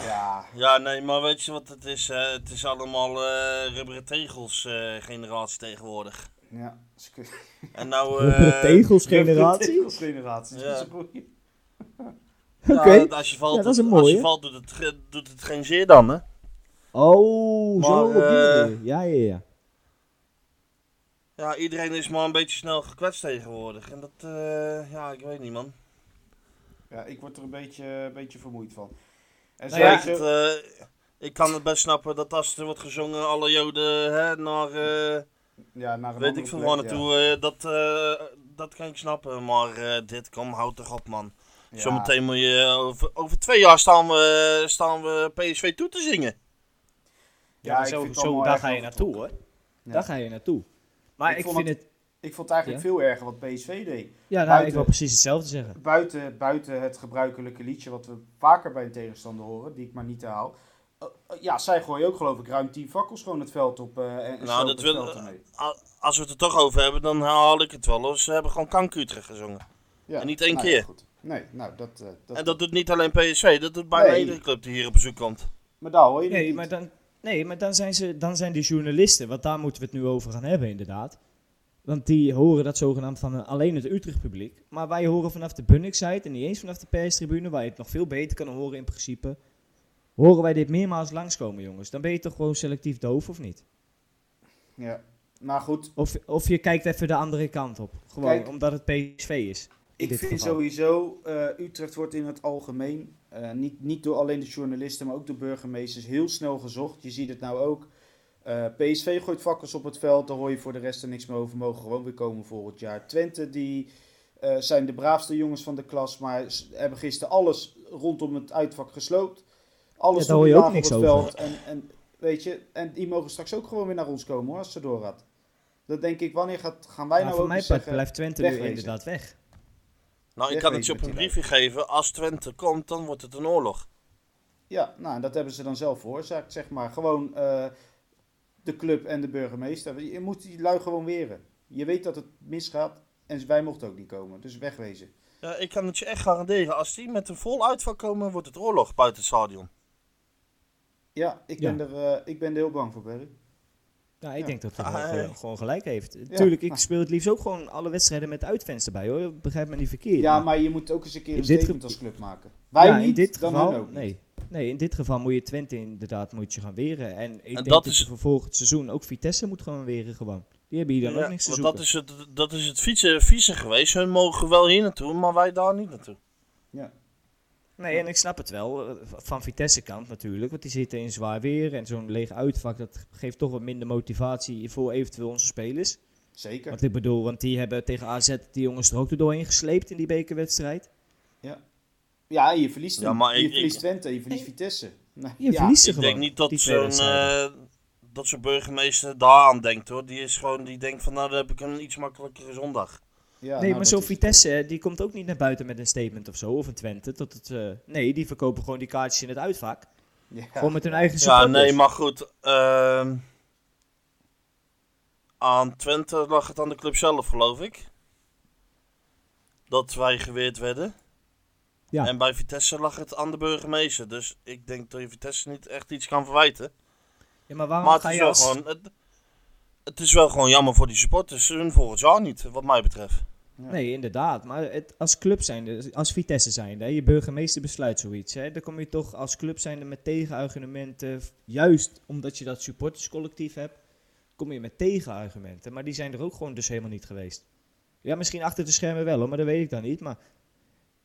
Speaker 1: Ja,
Speaker 2: Ja, nee, maar weet je wat het is? eh, het is allemaal eh rubberen tegels eh, generatie tegenwoordig.
Speaker 1: ja. ze
Speaker 3: [LAUGHS]
Speaker 1: kunnen-
Speaker 2: En nou...
Speaker 3: Rubberen
Speaker 2: eh,
Speaker 3: tegels
Speaker 1: De
Speaker 3: generatie?
Speaker 1: Tegelsgeneratie. [LAUGHS]
Speaker 2: Ja.
Speaker 1: Dat is een goeie.
Speaker 2: ja,
Speaker 3: Oké.
Speaker 2: Als je valt,
Speaker 3: Ja, dat is een
Speaker 2: als
Speaker 3: mooie.
Speaker 2: je valt doet, het, ge- doet het geen zeer dan, hè?
Speaker 3: Oh, zo.
Speaker 2: Maar,
Speaker 3: op die
Speaker 2: eh,
Speaker 3: manier. Ja, ja, ja.
Speaker 2: Ja, iedereen is maar een beetje snel gekwetst tegenwoordig. En dat, eh, ja, ik weet niet, man.
Speaker 1: Ja, ik word er een beetje, een beetje vermoeid van. En
Speaker 2: Nou
Speaker 1: zo-
Speaker 2: ja,
Speaker 1: zo-
Speaker 2: het, eh, ik kan het best snappen dat als er wordt gezongen, alle joden hè, naar, eh,
Speaker 1: ja, naar een andere
Speaker 2: weet ik veel
Speaker 1: plek,
Speaker 2: waar
Speaker 1: ja.
Speaker 2: naartoe, eh, dat, eh, dat kan ik snappen. Maar eh, dit, kom, houd toch op man.
Speaker 1: Ja.
Speaker 2: Zometeen moet je, eh, over, over twee jaar staan we, eh, staan we PSV toe te zingen.
Speaker 1: Ja, ik vind het allemaal erg overtrokken.
Speaker 3: hoor.
Speaker 1: Ja.
Speaker 3: Daar ga je naartoe. Maar
Speaker 1: Ik
Speaker 3: ik,
Speaker 1: vond
Speaker 3: vind het...
Speaker 1: Ik vond het eigenlijk veel erger wat PSV deed.
Speaker 3: Ja, nou, ik
Speaker 1: buiten-
Speaker 3: wil precies hetzelfde zeggen.
Speaker 1: Buiten, buiten het gebruikelijke liedje wat we vaker bij een tegenstander horen, die ik maar niet herhaal. Eh, eh, Ja, zij gooien ook geloof ik ruim 10 fakkels gewoon het veld op eh, en, en
Speaker 2: Nou,
Speaker 1: slopen
Speaker 2: dat
Speaker 1: het
Speaker 2: wil-
Speaker 1: veld ermee.
Speaker 2: A- Als we het er toch over hebben, dan haal ik het wel. hoor. Ze hebben gewoon Kankutrecht gezongen.
Speaker 1: Ja.
Speaker 2: en eh, niet één
Speaker 1: Nou,
Speaker 2: keer.
Speaker 1: ja, goed. Nee, nou dat... eh, dat,
Speaker 2: En dat doet niet alleen PSV, dat doet bijna
Speaker 1: Nee.
Speaker 2: iedere club die hier op bezoek komt.
Speaker 1: Maar daar hoor je het
Speaker 3: Nee,
Speaker 1: niet.
Speaker 3: maar dan, nee, maar dan zijn, ze, dan zijn de journalisten, want daar moeten we het nu over gaan hebben inderdaad. Want die horen dat zogenaamd van eh, alleen het Utrecht publiek. Maar wij horen vanaf de Bunnik-site en niet eens vanaf de perstribune, waar je het nog veel beter kan horen in principe. Horen wij dit meermaals langskomen, jongens. Dan ben je toch gewoon selectief doof, of niet?
Speaker 1: Ja. Maar goed,
Speaker 3: Of, of je kijkt even de andere kant op. Gewoon
Speaker 1: Kijk.
Speaker 3: omdat het PSV is. in
Speaker 1: Ik
Speaker 3: dit
Speaker 1: vind
Speaker 3: geval.
Speaker 1: sowieso, eh, Utrecht wordt in het algemeen, eh, niet, niet door alleen de journalisten, maar ook door burgemeesters, heel snel gezocht. Je ziet het nou ook. Eh, PSV gooit vakkers op het veld, daar hoor je voor de rest er niks meer over. Mogen gewoon weer komen volgend jaar. Twente, die eh, zijn de braafste jongens van de klas, maar s- hebben gisteren alles rondom het uitvak gesloopt. Alles
Speaker 3: Ja, daar hoor je
Speaker 1: door de
Speaker 3: ook
Speaker 1: laag
Speaker 3: niks
Speaker 1: op het
Speaker 3: over.
Speaker 1: veld. En, en, weet je, en die mogen straks ook gewoon weer naar ons komen hoor, als ze doorgaat. Dat denk ik, wanneer gaat, gaan wij
Speaker 3: Maar
Speaker 1: nou
Speaker 3: voor
Speaker 1: ook
Speaker 3: mijn
Speaker 1: eens
Speaker 3: part
Speaker 1: zeggen...
Speaker 3: blijft Twente nu
Speaker 1: wegwezen.
Speaker 3: inderdaad weg.
Speaker 2: Nou, ik kan het je
Speaker 1: Wegwezen
Speaker 2: op
Speaker 1: met
Speaker 2: een
Speaker 1: die
Speaker 2: briefje geven. Als Twente komt, dan wordt het een oorlog.
Speaker 1: Ja, nou, en dat hebben ze dan zelf veroorzaakt, zeg maar. Gewoon eh, de club en de burgemeester. Je moet die lui gewoon weren. Je weet dat het misgaat en wij mochten ook niet komen. Dus wegwezen.
Speaker 2: Ja, ik kan het je echt garanderen. Als die met een vol uitval komen, wordt het oorlog buiten het stadion.
Speaker 1: Ja, ik ben, Er, eh, ik ben er heel bang voor, Barry.
Speaker 3: Nou, ik
Speaker 1: Ja.
Speaker 3: denk dat hij
Speaker 2: Ah,
Speaker 3: wel gewoon-
Speaker 2: ja.
Speaker 3: gewoon gelijk heeft. Tuurlijk, ik
Speaker 1: Ah.
Speaker 3: speel het liefst ook gewoon alle wedstrijden met uitfans erbij hoor. Begrijp me niet verkeerd.
Speaker 1: Ja, maar je moet ook eens een keer
Speaker 3: In
Speaker 1: een
Speaker 3: dit
Speaker 1: statement
Speaker 3: ge-
Speaker 1: als club maken. Wij
Speaker 3: Ja,
Speaker 1: niet,
Speaker 3: in dit
Speaker 1: dan
Speaker 3: geval,
Speaker 1: hun ook. niet.
Speaker 3: nee. Nee, in dit geval moet je Twente inderdaad moet je gaan weren. En ik denk
Speaker 2: dat
Speaker 3: dat,
Speaker 2: is-
Speaker 3: je voor volgend seizoen ook Vitesse moet gaan weren gewoon. Die hebben hier dan
Speaker 2: Ja,
Speaker 3: ook niks te
Speaker 2: want
Speaker 3: zoeken.
Speaker 2: dat is het, dat is het fietsen, vieze geweest. Hun mogen wel hier naartoe, maar wij daar niet naartoe.
Speaker 3: Nee, en ik snap het wel. eh, Van Vitesse kant natuurlijk. Want die zitten in zwaar weer. En zo'n leeg uitvak, dat geeft toch wat minder motivatie voor eventueel onze spelers.
Speaker 1: Zeker.
Speaker 3: Want ik bedoel, want die hebben tegen AZ die jongens er ook doorheen gesleept in die bekerwedstrijd.
Speaker 1: Ja, je verliest,
Speaker 2: Ja,
Speaker 1: hem.
Speaker 2: maar
Speaker 1: je
Speaker 2: ik-
Speaker 1: verliest
Speaker 2: ik-
Speaker 1: Twente, je verliest Vitesse. Nou,
Speaker 3: Je verliest ze
Speaker 2: Ik
Speaker 3: gewoon.
Speaker 2: denk niet dat
Speaker 3: die twee
Speaker 2: zo'n
Speaker 3: wedstrijden.
Speaker 2: eh, dat zo'n burgemeester daar aan denkt hoor. Die is gewoon, die denkt van nou dan heb ik een iets makkelijkere zondag.
Speaker 1: ja,
Speaker 3: nee,
Speaker 1: nou,
Speaker 3: maar
Speaker 1: dat
Speaker 3: zo'n
Speaker 1: is-
Speaker 3: Vitesse, eh, die komt ook niet naar buiten met een statement of zo. Of een Twente. Tot het, eh, nee, die verkopen gewoon die kaartjes in het uitvak.
Speaker 1: Ja.
Speaker 3: Gewoon met hun eigen
Speaker 2: Ja,
Speaker 3: supporters.
Speaker 2: nee, maar goed. ehm, aan Twente lag het aan de club zelf, geloof ik. Dat wij geweerd werden.
Speaker 3: Ja.
Speaker 2: En bij Vitesse lag het aan de burgemeester. Dus ik denk dat je Vitesse niet echt iets kan verwijten.
Speaker 3: Ja, maar waarom
Speaker 2: Maar het
Speaker 3: ga
Speaker 2: is,
Speaker 3: je
Speaker 2: wel
Speaker 3: als...
Speaker 2: gewoon, het, het is wel gewoon jammer voor die supporters. Hun volgend jaar niet, wat mij betreft.
Speaker 3: Nee, inderdaad. Maar het, als club zijnde, als Vitesse zijnde, hè, je burgemeester besluit zoiets. Hè, dan kom je toch als club zijnde met tegenargumenten. f- Juist omdat je dat supporterscollectief hebt, kom je met tegenargumenten. Maar die zijn er ook gewoon dus helemaal niet geweest. Ja, misschien achter de schermen wel, hoor, maar dat weet ik dan niet. Maar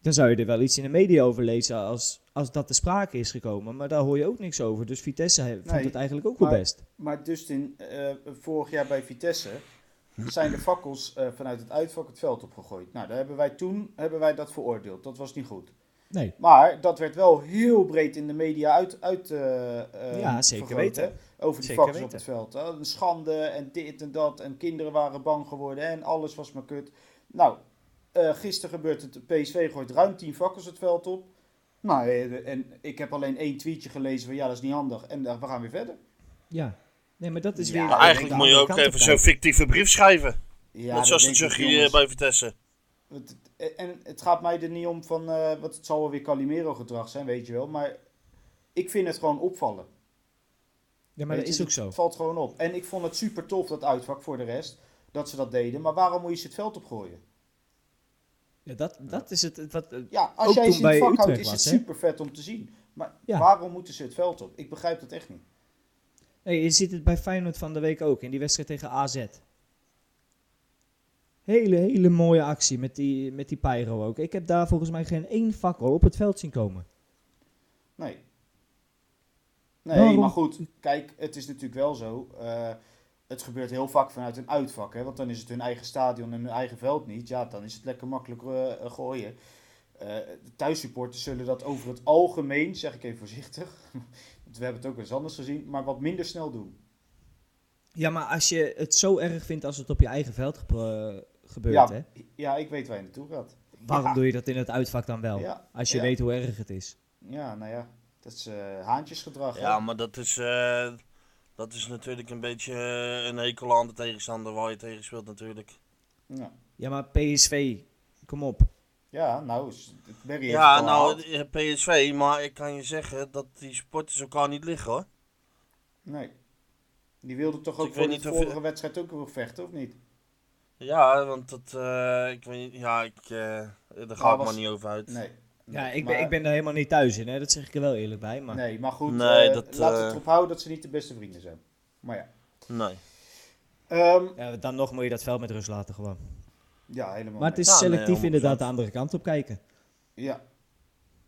Speaker 3: dan zou je er wel iets in de media over lezen als, als dat te sprake is gekomen. Maar daar hoor je ook niks over. Dus Vitesse he- vond
Speaker 1: Nee,
Speaker 3: het eigenlijk ook wel
Speaker 1: maar-
Speaker 3: best.
Speaker 1: Maar Dustin, eh, vorig jaar bij Vitesse zijn de fakkels eh, vanuit het uitvak het veld opgegooid. Nou, daar hebben wij toen hebben wij dat veroordeeld. Dat was niet goed.
Speaker 3: Nee.
Speaker 1: Maar dat werd wel heel breed in de media uit, uit eh, eh,
Speaker 3: Ja, zeker
Speaker 1: vergroot, hè,
Speaker 3: weten.
Speaker 1: Over die
Speaker 3: Zeker
Speaker 1: fakkels op
Speaker 3: weten.
Speaker 1: het veld. Eh, Een schande en dit en dat. En kinderen waren bang geworden en alles was maar kut. Nou, eh gisteren gebeurt het. PSV gooit ruim 10 fakkels het veld op. Nou, eh, en ik heb alleen één tweetje gelezen van ja, dat is niet handig. En eh, we gaan weer verder.
Speaker 3: Ja. Nee, maar dat is
Speaker 1: Ja,
Speaker 3: weer...
Speaker 2: maar eigenlijk moet je ook
Speaker 3: Kant op
Speaker 2: even zo'n
Speaker 3: kijken.
Speaker 2: fictieve brief schrijven.
Speaker 1: Ja,
Speaker 2: Net
Speaker 1: dat
Speaker 2: zoals de
Speaker 1: denk ik,
Speaker 2: Tsjechië
Speaker 1: jongens.
Speaker 2: bij Vitesse.
Speaker 1: Want het- En het gaat mij er niet om van, eh wat het zal wel weer Calimero gedrag zijn, weet je wel. Maar ik vind het gewoon opvallen.
Speaker 3: Ja, maar
Speaker 1: Weet
Speaker 3: dat
Speaker 1: je,
Speaker 3: is ook zo.
Speaker 1: Het valt gewoon op. En ik vond het super tof, dat uitvak voor de rest, dat ze dat deden. Maar waarom moet je ze het veld opgooien?
Speaker 3: Ja, dat, dat is het. het Wat, eh,
Speaker 1: Ja, als
Speaker 3: Ook
Speaker 1: jij
Speaker 3: toen
Speaker 1: ze in het
Speaker 3: bij
Speaker 1: vak houdt,
Speaker 3: Utrecht
Speaker 1: is het
Speaker 3: was, hè?
Speaker 1: super vet om te zien. Maar
Speaker 3: Ja.
Speaker 1: waarom moeten ze het veld op? Ik begrijp dat echt niet.
Speaker 3: hey, je ziet het bij Feyenoord van de week ook, in die wedstrijd tegen AZ. Hele, hele mooie actie met die, met die pyro ook. Ik heb daar volgens mij geen één fakkel op het veld zien komen.
Speaker 1: Nee. Nee,
Speaker 3: Waarom?
Speaker 1: maar goed. Kijk, het is natuurlijk wel zo. eh, het gebeurt heel vaak vanuit een uitvak. Hè? Want dan is het hun eigen stadion en hun eigen veld niet. Ja, dan is het lekker makkelijk eh, eh, gooien. Eh, de thuissupporters zullen dat over het algemeen, zeg ik even voorzichtig. [LAUGHS] Want we hebben het ook wel eens anders gezien. Maar wat minder snel doen.
Speaker 3: Ja, maar als je het zo erg vindt als het op je eigen veld gebe- gebeurt,
Speaker 1: ja,
Speaker 3: hè,
Speaker 1: ja, ik weet waar je naartoe gaat.
Speaker 3: waarom
Speaker 1: Ja.
Speaker 3: doe je dat in het uitvak dan wel?
Speaker 1: Ja,
Speaker 3: Als je
Speaker 1: ja.
Speaker 3: weet hoe erg het is.
Speaker 1: Ja, nou ja. Dat is eh, haantjesgedrag.
Speaker 2: Ja,
Speaker 1: hè?
Speaker 2: maar dat is, eh, dat is natuurlijk een beetje eh, een hekel aan de tegenstander waar je tegen speelt natuurlijk.
Speaker 1: ja.
Speaker 3: Ja, maar PSV, kom op.
Speaker 1: Ja, nou, s- Berry heeft het
Speaker 2: Ja,
Speaker 1: al
Speaker 2: nou,
Speaker 1: gehaald.
Speaker 2: eh, PSV, maar ik kan je zeggen dat die supporters elkaar niet liggen hoor.
Speaker 1: Nee. Die wilde toch
Speaker 2: Dus
Speaker 1: ook
Speaker 2: ik
Speaker 1: voor
Speaker 2: weet
Speaker 1: de
Speaker 2: niet of je-
Speaker 1: vorige wedstrijd ook weer vechten, of niet?
Speaker 2: Ja, want dat, eh, ik weet niet, ja, ik, eh, daar ga
Speaker 1: Maar
Speaker 2: ik
Speaker 1: Nou, was-
Speaker 2: maar niet over uit.
Speaker 1: Nee.
Speaker 3: Ja, ik,
Speaker 1: Maar-
Speaker 3: ben, ik ben daar helemaal niet thuis in, hè. dat zeg ik er wel eerlijk bij. Maar...
Speaker 1: Nee, maar goed,
Speaker 2: Ah. Nee,
Speaker 1: eh,
Speaker 2: dat,
Speaker 1: laten we
Speaker 2: eh,
Speaker 1: het erop houden dat ze niet de beste vrienden zijn. Maar ja.
Speaker 2: nee.
Speaker 1: Ehm,
Speaker 3: Ja, dan nog moet je dat veld met rust laten gewoon.
Speaker 1: ja, helemaal
Speaker 3: Maar het
Speaker 1: mee.
Speaker 3: is
Speaker 2: Ja, nee,
Speaker 3: selectief
Speaker 2: 100%.
Speaker 3: inderdaad de andere kant op kijken.
Speaker 1: Ja.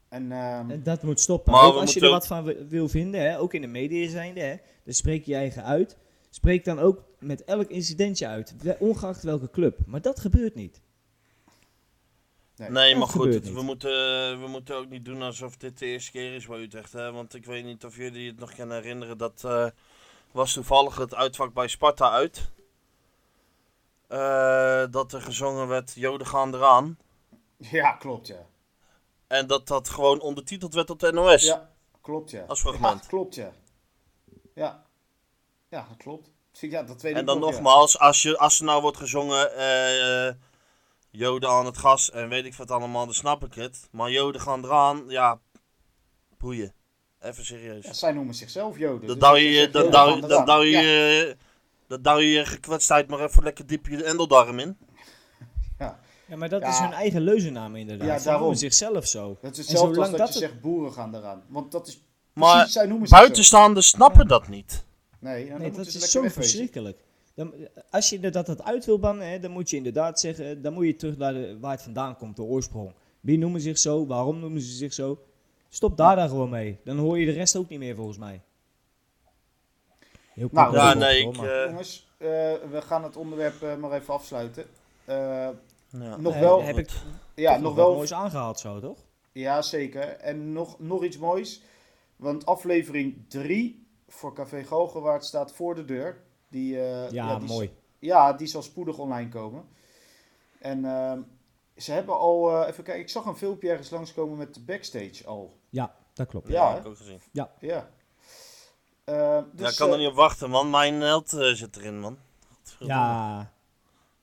Speaker 1: En, ehm,
Speaker 3: En dat moet stoppen.
Speaker 2: Maar
Speaker 3: Ook
Speaker 2: we
Speaker 3: als je
Speaker 2: moeten
Speaker 3: er wat van wi- wil vinden, hè, ook in de media zijnde, hè, dan spreek je je eigen uit. Spreek dan ook met elk incidentje uit, we- ongeacht welke club. Maar dat gebeurt niet.
Speaker 2: Nee,
Speaker 3: Dat
Speaker 2: maar goed,
Speaker 3: gebeurt
Speaker 2: het-
Speaker 3: niet.
Speaker 2: we moeten, we moeten ook niet doen alsof dit de eerste keer is bij Utrecht. Hè? Want ik weet niet of jullie het nog kunnen herinneren. Dat eh, was toevallig het uitvak bij Sparta uit. Eh, dat er gezongen werd, Joden gaan eraan.
Speaker 1: [LAUGHS] ja, klopt, ja.
Speaker 2: En dat dat gewoon ondertiteld werd op de NOS.
Speaker 1: Ja, klopt, ja.
Speaker 2: Als fragment.
Speaker 1: Ja, klopt, ja. Ja. Ja, dat klopt. Ja, dat weet ik
Speaker 2: en dan
Speaker 1: nog, ja.
Speaker 2: nogmaals, als, je, als er nou wordt gezongen... eh, Joden aan het gas en weet ik wat allemaal, dan snap ik het. Maar Joden gaan eraan, ja, boeien. Even serieus.
Speaker 1: Ja, zij noemen zichzelf Joden. dus
Speaker 2: Dan douw
Speaker 1: als
Speaker 2: je
Speaker 1: zegt,
Speaker 2: dan
Speaker 1: ja,
Speaker 2: douw-
Speaker 1: gaan
Speaker 2: dan
Speaker 1: eraan.
Speaker 2: douw je
Speaker 1: Ja.
Speaker 2: je- dan douw je je gekwetstheid maar even lekker diep je endeldarm in.
Speaker 3: Ja, maar dat
Speaker 1: Ja.
Speaker 3: is hun eigen leuzennaam inderdaad.
Speaker 1: Ja,
Speaker 3: Ze noemen
Speaker 1: daarom.
Speaker 3: zichzelf zo.
Speaker 1: Dat is
Speaker 3: En
Speaker 1: hetzelfde als
Speaker 3: zolang
Speaker 1: dat,
Speaker 3: dat
Speaker 1: je
Speaker 3: het-
Speaker 1: zegt boeren gaan eraan. Want dat is
Speaker 2: Maar
Speaker 1: Precies, zij noemen zich zo.
Speaker 2: buitenstaanders snappen dat niet.
Speaker 1: Nee, dan
Speaker 3: Nee,
Speaker 1: moeten
Speaker 3: dat
Speaker 1: ze
Speaker 3: is
Speaker 1: lekker
Speaker 3: zo
Speaker 1: wegwezen.
Speaker 3: verschrikkelijk. Dan, als je inderdaad dat uit wil bannen, hè, dan moet je inderdaad zeggen, dan moet je terug naar de, waar het vandaan komt, de oorsprong. Wie noemen zich zo? Waarom noemen ze zich zo? Stop daar dan gewoon mee. Dan hoor je de rest ook niet meer volgens mij. Heel
Speaker 1: Nou,
Speaker 3: kort
Speaker 2: Ja,
Speaker 3: door,
Speaker 2: nee,
Speaker 3: hoor,
Speaker 2: ik...
Speaker 3: maar-
Speaker 2: eh,
Speaker 1: Jongens, eh, we gaan het onderwerp eh, maar even afsluiten. Eh,
Speaker 2: ja.
Speaker 1: nog
Speaker 3: Nee,
Speaker 1: wel,
Speaker 3: heb ik
Speaker 1: ja,
Speaker 3: toch
Speaker 1: nog
Speaker 3: wat
Speaker 1: wel
Speaker 3: moois aangehaald zo, toch?
Speaker 1: Ja, zeker. En nog, nog iets moois. Want aflevering 3 voor Café Galgenwaard staat voor de deur. Die, eh,
Speaker 3: Ja,
Speaker 1: die,
Speaker 3: mooi.
Speaker 1: Ja, die zal spoedig online komen. En ehm, ze hebben al... eh, even kijken, ik zag een filmpje ergens langskomen met de backstage al.
Speaker 3: Ja, dat klopt.
Speaker 1: Ja,
Speaker 2: Ja,
Speaker 1: hè?
Speaker 2: heb ik ook gezien.
Speaker 1: Ja. Eh, dus,
Speaker 2: ja, ik kan er
Speaker 1: eh,
Speaker 2: niet op wachten, man. Mijn held eh, zit erin, man. Godverdomme.
Speaker 3: Ja.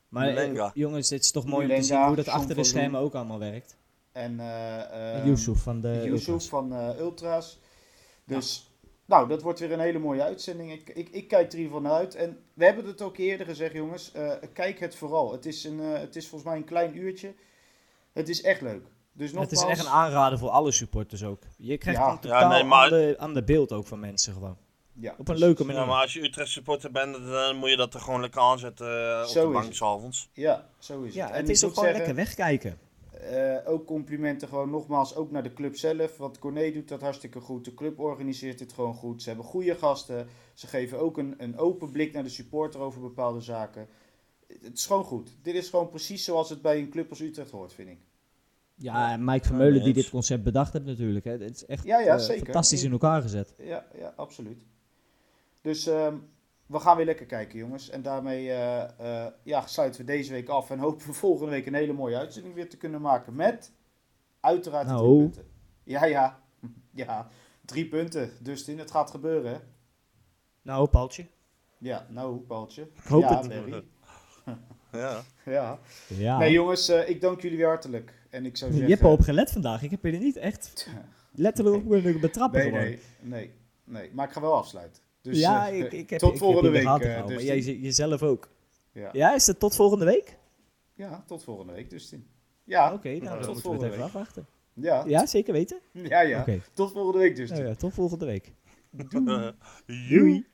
Speaker 3: Maar eh,
Speaker 2: Mulenga.
Speaker 3: jongens, dit is toch mooi om te
Speaker 1: Mulenga,
Speaker 3: zien hoe dat
Speaker 1: John
Speaker 3: achter de
Speaker 1: van
Speaker 3: schermen ook allemaal werkt.
Speaker 1: En eh,
Speaker 3: Uh,
Speaker 1: eh,
Speaker 3: van de...
Speaker 1: Yusuf van eh, Ultra's. Dus, nou, dat wordt weer een hele mooie uitzending. Ik, ik, ik kijk er in van uit. En we hebben het ook eerder gezegd, jongens. eh, kijk het vooral. Het is, een, eh, het is volgens mij een klein uurtje. Het is echt leuk. Dus
Speaker 3: Het
Speaker 1: nogmaals,
Speaker 3: is echt een aanrader voor alle supporters ook. Je krijgt
Speaker 1: Ja.
Speaker 3: een totaal
Speaker 2: Ja, nee, maar-
Speaker 3: ander, ander beeld ook van mensen gewoon.
Speaker 1: ja,
Speaker 3: Op een leuke manier.
Speaker 2: Ja, maar als je Utrecht supporter bent, dan moet je dat er gewoon lekker aanzetten eh, op
Speaker 1: Zo
Speaker 2: de
Speaker 1: is
Speaker 2: bank
Speaker 1: het.
Speaker 2: s'avonds.
Speaker 1: ja, zo is het.
Speaker 3: Ja,
Speaker 1: En
Speaker 3: het
Speaker 1: ik
Speaker 3: is ook
Speaker 1: moet
Speaker 3: gewoon
Speaker 1: zeggen,
Speaker 3: lekker wegkijken.
Speaker 1: eh, ook complimenten gewoon nogmaals ook naar de club zelf. Want Corné doet dat hartstikke goed. De club organiseert dit gewoon goed. Ze hebben goede gasten. Ze geven ook een, een open blik naar de supporter over bepaalde zaken. Het is gewoon goed. Dit is gewoon precies zoals het bij een club als Utrecht hoort, vind ik.
Speaker 3: Ja, en Mike
Speaker 2: Vermeulen
Speaker 3: Vermeulen
Speaker 2: die
Speaker 3: die
Speaker 2: dit
Speaker 3: dit concept bedacht heeft natuurlijk. Het is echt
Speaker 1: Ja, ja, eh, zeker. fantastisch
Speaker 3: fantastisch
Speaker 1: in
Speaker 3: in elkaar gezet.
Speaker 1: Ja, ja absoluut. Dus ehm, we gaan weer lekker kijken, jongens. En daarmee eh, eh, ja, sluiten we deze week af. En hopen we [LAUGHS] volgende week een hele mooie uitzending weer te kunnen maken. Met uiteraard de
Speaker 3: Nou.
Speaker 1: drie punten. Ja, ja. [LAUGHS] Ja, drie punten. Dustin, het gaat gebeuren, hè?
Speaker 3: Nou, Paltje.
Speaker 1: Ja, nou, Paaltje. Ik
Speaker 3: hoop
Speaker 1: ja,
Speaker 3: het.
Speaker 1: Barry.
Speaker 2: [LAUGHS] Ja.
Speaker 1: Ja.
Speaker 3: Ja.
Speaker 1: Nee, jongens, eh, ik dank jullie weer hartelijk. En ik zou
Speaker 3: je
Speaker 1: zeggen...
Speaker 3: hebt al op gelet vandaag. Ik heb je er niet
Speaker 1: [LAUGHS]
Speaker 3: echt letterlijk op betrappen
Speaker 1: nee,
Speaker 3: gewoon.
Speaker 1: nee, nee, nee. Maar ik ga wel afsluiten. Dus,
Speaker 3: ja,
Speaker 1: eh,
Speaker 3: ik, ik heb,
Speaker 1: tot
Speaker 3: ik
Speaker 1: volgende
Speaker 3: heb je in de
Speaker 1: week.
Speaker 3: gaten
Speaker 1: eh,
Speaker 3: gehouden, maar
Speaker 1: Dustin.
Speaker 3: jij, jezelf ook.
Speaker 1: ja.
Speaker 3: Ja, is het tot volgende week?
Speaker 1: ja, tot volgende week, Dustin. Ja,
Speaker 3: Oké, nou,
Speaker 1: tot
Speaker 3: dan moeten we het
Speaker 1: volgende
Speaker 3: even
Speaker 1: week.
Speaker 3: afwachten.
Speaker 1: ja.
Speaker 3: Ja, zeker weten.
Speaker 1: Ja, ja.
Speaker 3: Oké.
Speaker 1: Tot volgende week dus.
Speaker 3: Nou ja, tot volgende week.
Speaker 2: Joei.